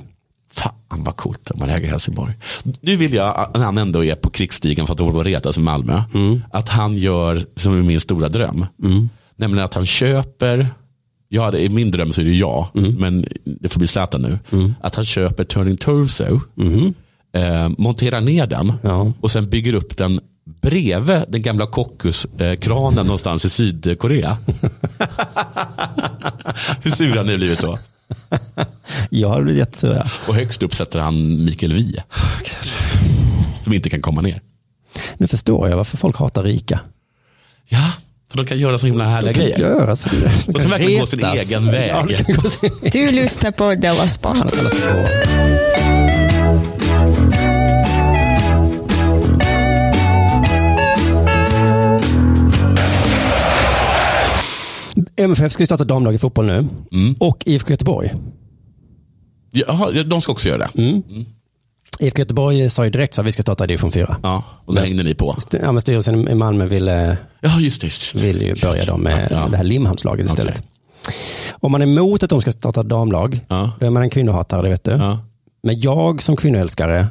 Fan vad coolt om man äger Helsingborg. Nu vill jag, när han ändå är på krigsstigen för att hålla på och retas i Malmö, att han gör som är min stora dröm. Nämligen att han köper, ja, det är min dröm så är det jag, men det får bli Zlatan nu. Att han köper Turning Torso,
Mhm.
eh, monterar ner den och sen bygger upp den bredvid den gamla Kockus-kranen någonstans i Sydkorea. Hur sur han nu blivit då?
Jag hade blivit jättesur. ja.
Och högst upp sätter han Mikael Wiehe. Som inte kan komma ner.
Nu förstår jag varför folk hatar rika.
Ja, för de kan göra så himla härliga
kan
grejer.
göra
[LAUGHS]
så-
de kan verkligen gå sin
retas.
egen väg.
alltså. Ja, de kan gå sin-
Du lyssnar på Della Sport.
MFF ska ju starta damlag i fotboll nu.
Mm.
Och IFK Göteborg.
Jaha, ja, de ska också göra det. Mm.
IFK Göteborg sa ju direkt att vi ska starta i division 4.
Ja, och det hängde ni på.
St- Ja, men styrelsen i Malmö ville,
ja, just det, just
ville ju börja då med det här Limhamnslaget istället. Om man är emot att de ska starta damlag, då är man en kvinnohatare, det vet du. Men jag som kvinnoälskare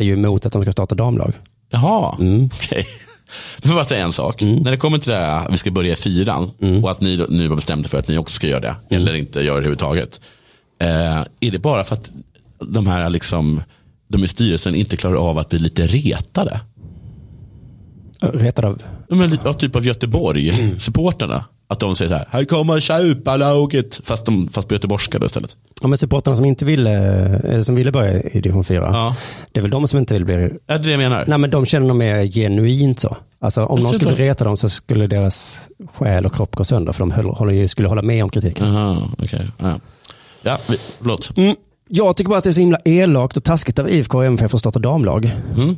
är ju emot att de ska starta damlag.
Jaha, okej. Jag får bara säga en sak. När det kommer till det här, vi ska börja i fyran och att ni då- nu har bestämt er för att ni också ska göra det. Eller inte gör det överhuvudtaget. Eh, är det bara för att de här liksom, de i styrelsen inte klarar av att bli lite retade?
Retad av...
Ja, Men, lite- ja, typ av Göteborg-supporterna. Att de säger så här, här kommer tjupalaget. Fast, de- fast på göteborgska då istället.
Ja, men supportrarna som inte ville, eller som ville börja i division 4, det är väl de som inte vill bli...
Är det det jag menar?
Nej, men de känner de är genuint så. Alltså om
Jag
någon
tror
skulle
inte-
reta dem så skulle deras själ och kropp gå sönder, för de höll, håller ju- skulle hålla med om kritiken.
Aha, okay. ja. ja, vi- förlåt.
Mm. Jag tycker bara att det är så himla elakt och taskigt av IFK och MFF att starta damlag.
Mm.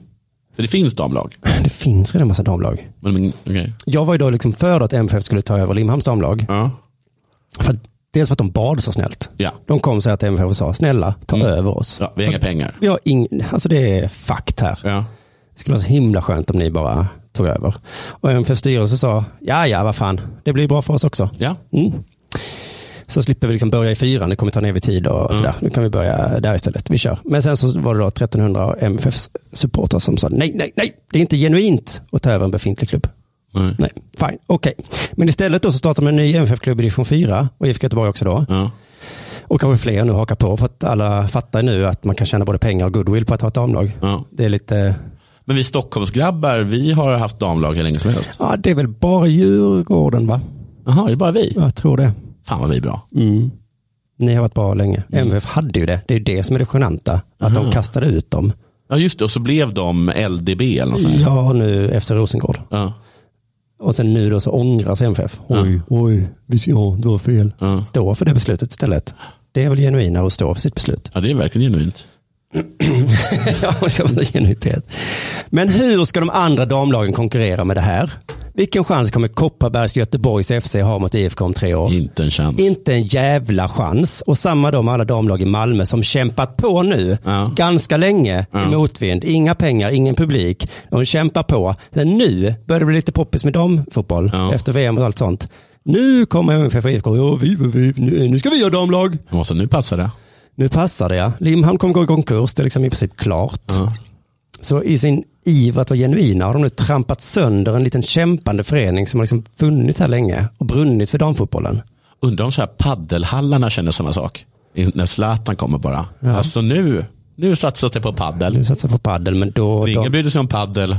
För det finns damlag.
Äh, Det finns redan massa damlag.
Men, men, okej.
Jag var ju då liksom för att MFF skulle ta över Limhamns damlag. För att, dels för att de bad så snällt.
Ja.
De kom så här till MFF och sa, snälla ta över oss.
Mm. Vi har inga pengar.
Vi har ing- alltså det är fakt här. Det skulle vara så himla skönt om ni bara tog över. Och MFF styrelse sa, ja ja vad fan, det blir bra för oss också.
Ja.
Mm. Så slipper vi liksom börja i fyran, det kommer ta ner vid tid
Mm.
och sådär. Nu kan vi börja där istället, vi kör. Men sen så var det då 1300 MFFs supportrar som sa, nej, nej, nej, det är inte genuint att ta över en befintlig klubb.
Nej.
Fine, okej. Men istället då så startar man en ny MFF-klubb i division 4 och IFK Göteborg också då. Och kanske fler nu hakar på för att alla fattar nu att man kan tjäna både pengar och goodwill på att ha ett damlag. Det är lite...
men vi Stockholmsgrabbar, vi har haft damlag hur länge som helst.
Ja, det är väl bara Djurgården va?
Jaha, är det bara vi?
Jag tror det.
Fan vad vi är bra.
Mm. Ni har varit bra länge. MFF hade ju det. Det är ju det som är det genanta. Att de
Aha.
kastade ut dem.
Ja, just det. Och så blev de LDB eller något sånt. där.
Ja, nu efter Rosengård.
Ja.
Och sen nu då så ångrar sig MFF. Oj, oj, visst, ja, det var fel. Stå för det beslutet istället. Det är väl genuinare att stå för sitt beslut.
Ja, det är verkligen genuint.
ja, och så var det genuinitet. Men hur ska de andra damlagen konkurrera med det här? Vilken chans kommer Kopparbergs Göteborgs FC ha mot IFK om tre år?
Inte en chans.
Inte en jävla chans. Och samma då med alla damlag i Malmö som kämpat på nu ganska länge i motvind. Inga pengar, ingen publik. De kämpar på. Sen nu börjar det bli lite poppis med damfotboll efter VM och allt sånt. Nu kommer MFF och IFK. Ja, vi, vi, vi, nu, nu ska vi göra damlag.
Måste nu passar det.
Nu passar det ja. Limhamn kommer gå i konkurs. Det är liksom i princip klart. Så i sin iver att vara genuina har de nu trampat sönder en liten kämpande förening som har liksom funnits här länge och brunnit för damfotbollen.
Undrar om så här paddelhallarna känner samma sak. I- När Zlatan kommer bara. Alltså nu, nu satsas det på paddel.
Nu satsar på paddel, men då...
Ingen brydde sig om paddel.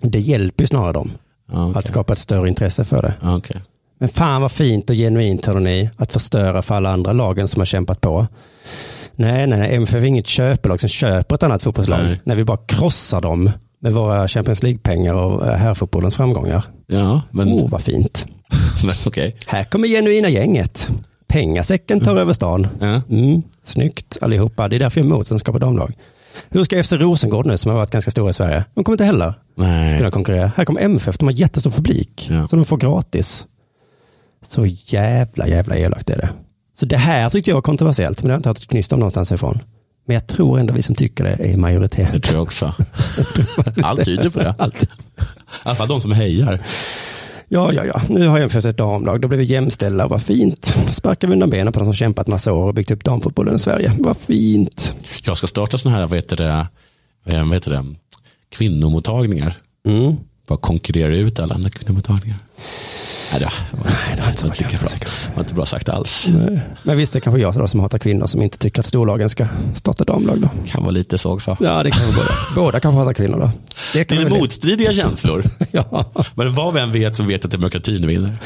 Det hjälper ju snarare dem. Att skapa ett större intresse för det. Men fan vad fint och genuint hörde ni, att förstöra för alla andra lagen som har kämpat på. Nej, nej, nej, MFF är inget köpelag som köper ett annat fotbollslag.
Nej.
När vi bara krossar dem med våra Champions League-pengar och eh, herrfotbollens framgångar.
Ja, men...
Åh, Oh,
[LAUGHS]
vad fint.
Nej, Okej.
Här kommer genuina gänget. Pengasäcken tar över stan. Mm, snyggt allihopa. Det är därför jag är emot att de skapar damlag. Hur ska FC Rosengård nu, som har varit ganska stora i Sverige, de kommer inte heller
Nej.
kunna konkurrera. Här kommer MFF, de har jättestor publik, så de får gratis. Så jävla, jävla elakt är det. Så det här tycker jag var kontroversiellt, men det har jag inte hört ett knyst om någonstans ifrån. Men jag tror ändå vi som tycker det är i majoritet. Det
tror
[LAUGHS]
jag också. Allt tyder på det.
Allt. I
alla fall de som hejar.
Ja, ja, ja. Nu har jag infört ett damlag. Då blev vi jämställda. Vad fint. Sparkar vi undan benen på de som kämpat massa år och byggt upp damfotbollen i Sverige. Vad fint.
Jag ska starta sådana här, vad heter det, eh, vad heter det kvinnomottagningar.
Mm.
Bara konkurrera ut alla andra kvinnomottagningar. Nej, det var inte, Nej, det var inte, var inte, bra. Det var inte bra sagt alls.
Nej. Men visst, det är kanske jag då som hatar kvinnor som inte tycker att storlagen ska starta damlag då.
Kan vara lite så också.
Ja, det kan vara båda. Båda kanske hatar kvinnor då.
Det,
kan
är
väl- [LAUGHS]
motstridiga känslor. Men vad vi än vet så vet att demokratin vinner.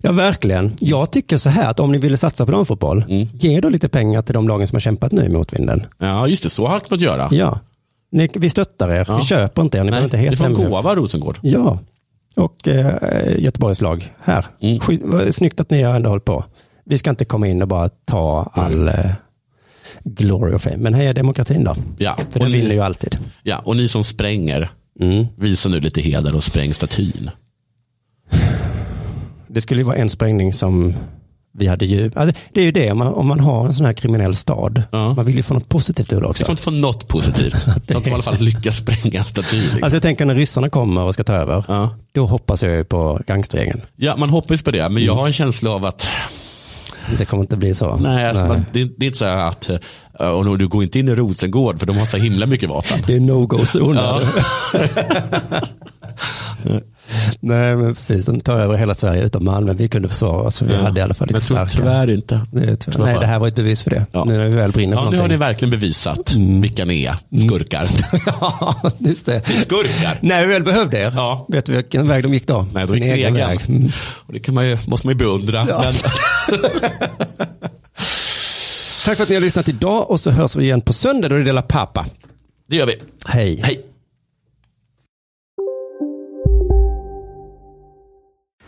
Ja, verkligen. Jag tycker så här att om ni vill satsa på damfotboll,
Mm.
ge då lite pengar till de lagen som har kämpat nu i motvinden.
Ja, just det. Så har man att göra.
Ja. Ni, vi stöttar er,
Ja.
vi köper inte er, ni behöver inte
det
heta
får en
MFF.
gåva Rosengård.
Ja, och eh, Göteborgs lag här.
Mm.
Sky- vad Snyggt att ni har ändå hållit på. Vi ska inte komma in och bara ta
Mm.
all eh, glory och fame. Men här är demokratin då.
Ja.
För den vinner ju alltid. Mm.
Ja, och ni som spränger, visa nu lite heder och spräng statyn.
Det skulle ju vara en sprängning som vi hade ju. Alltså, det är ju det, om man, om man har en sån här kriminell stad. Man vill ju få något positivt ur det
Det
också.
kommer inte få
[LAUGHS]
något positivt. Så att de i alla fall lyckas spränga en staty. Liksom.
Alltså jag tänker när ryssarna kommer och ska ta över, då hoppas jag ju på gangstergängen.
Ja, man hoppas på det, men jag har en känsla av att
Det kommer inte bli så.
Nej, alltså, Man, det, är- det är inte så här att eh, och nu- du går inte in i Rosengård för de har så himla mycket vapen.
Det är no-go-zoner.
Ja.
[LAUGHS] Nej, men precis. De tar över hela Sverige utom Malmö. Vi kunde försvara oss. för Vi
Ja,
hade i alla fall lite
men så
starka.
tyvärr inte.
Det är tyvärr. Nej, det här var ett bevis för det. Nu när vi väl brinner för
Ja, nu har ni
någonting. [LAUGHS]
verkligen bevisat vilka ni är, skurkar.
Mm.
[LAUGHS]
ja, just det.
Skurkar.
När vi väl behövde er. Ja. Vet du vilken väg de gick då?
Nej, då
Sin
gick det
egen
egen.
väg. Mm.
Och det kan man ju, måste man ju beundra.
Ja.
[LAUGHS] Men,
Tack för att ni har lyssnat idag och så hörs vi igen på söndag då det är Dela Pappa.
det gör vi.
Hej. Hej.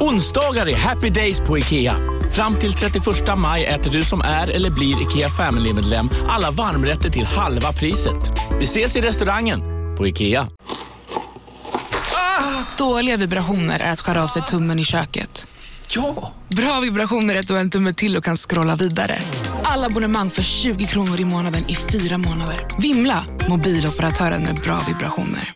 Onsdagar är happy days på IKEA. Fram till 31 maj äter du som är eller blir IKEA Family-medlem alla varmrätter till halva priset. Vi ses i restaurangen på IKEA.
Dåliga vibrationer är att skära av sig tummen i köket. Ja! Bra vibrationer är att du har en tumme till och kan scrolla vidare. Alla abonnemang för 20 kronor i månaden i fyra månader. Vimla! Mobiloperatören med bra vibrationer.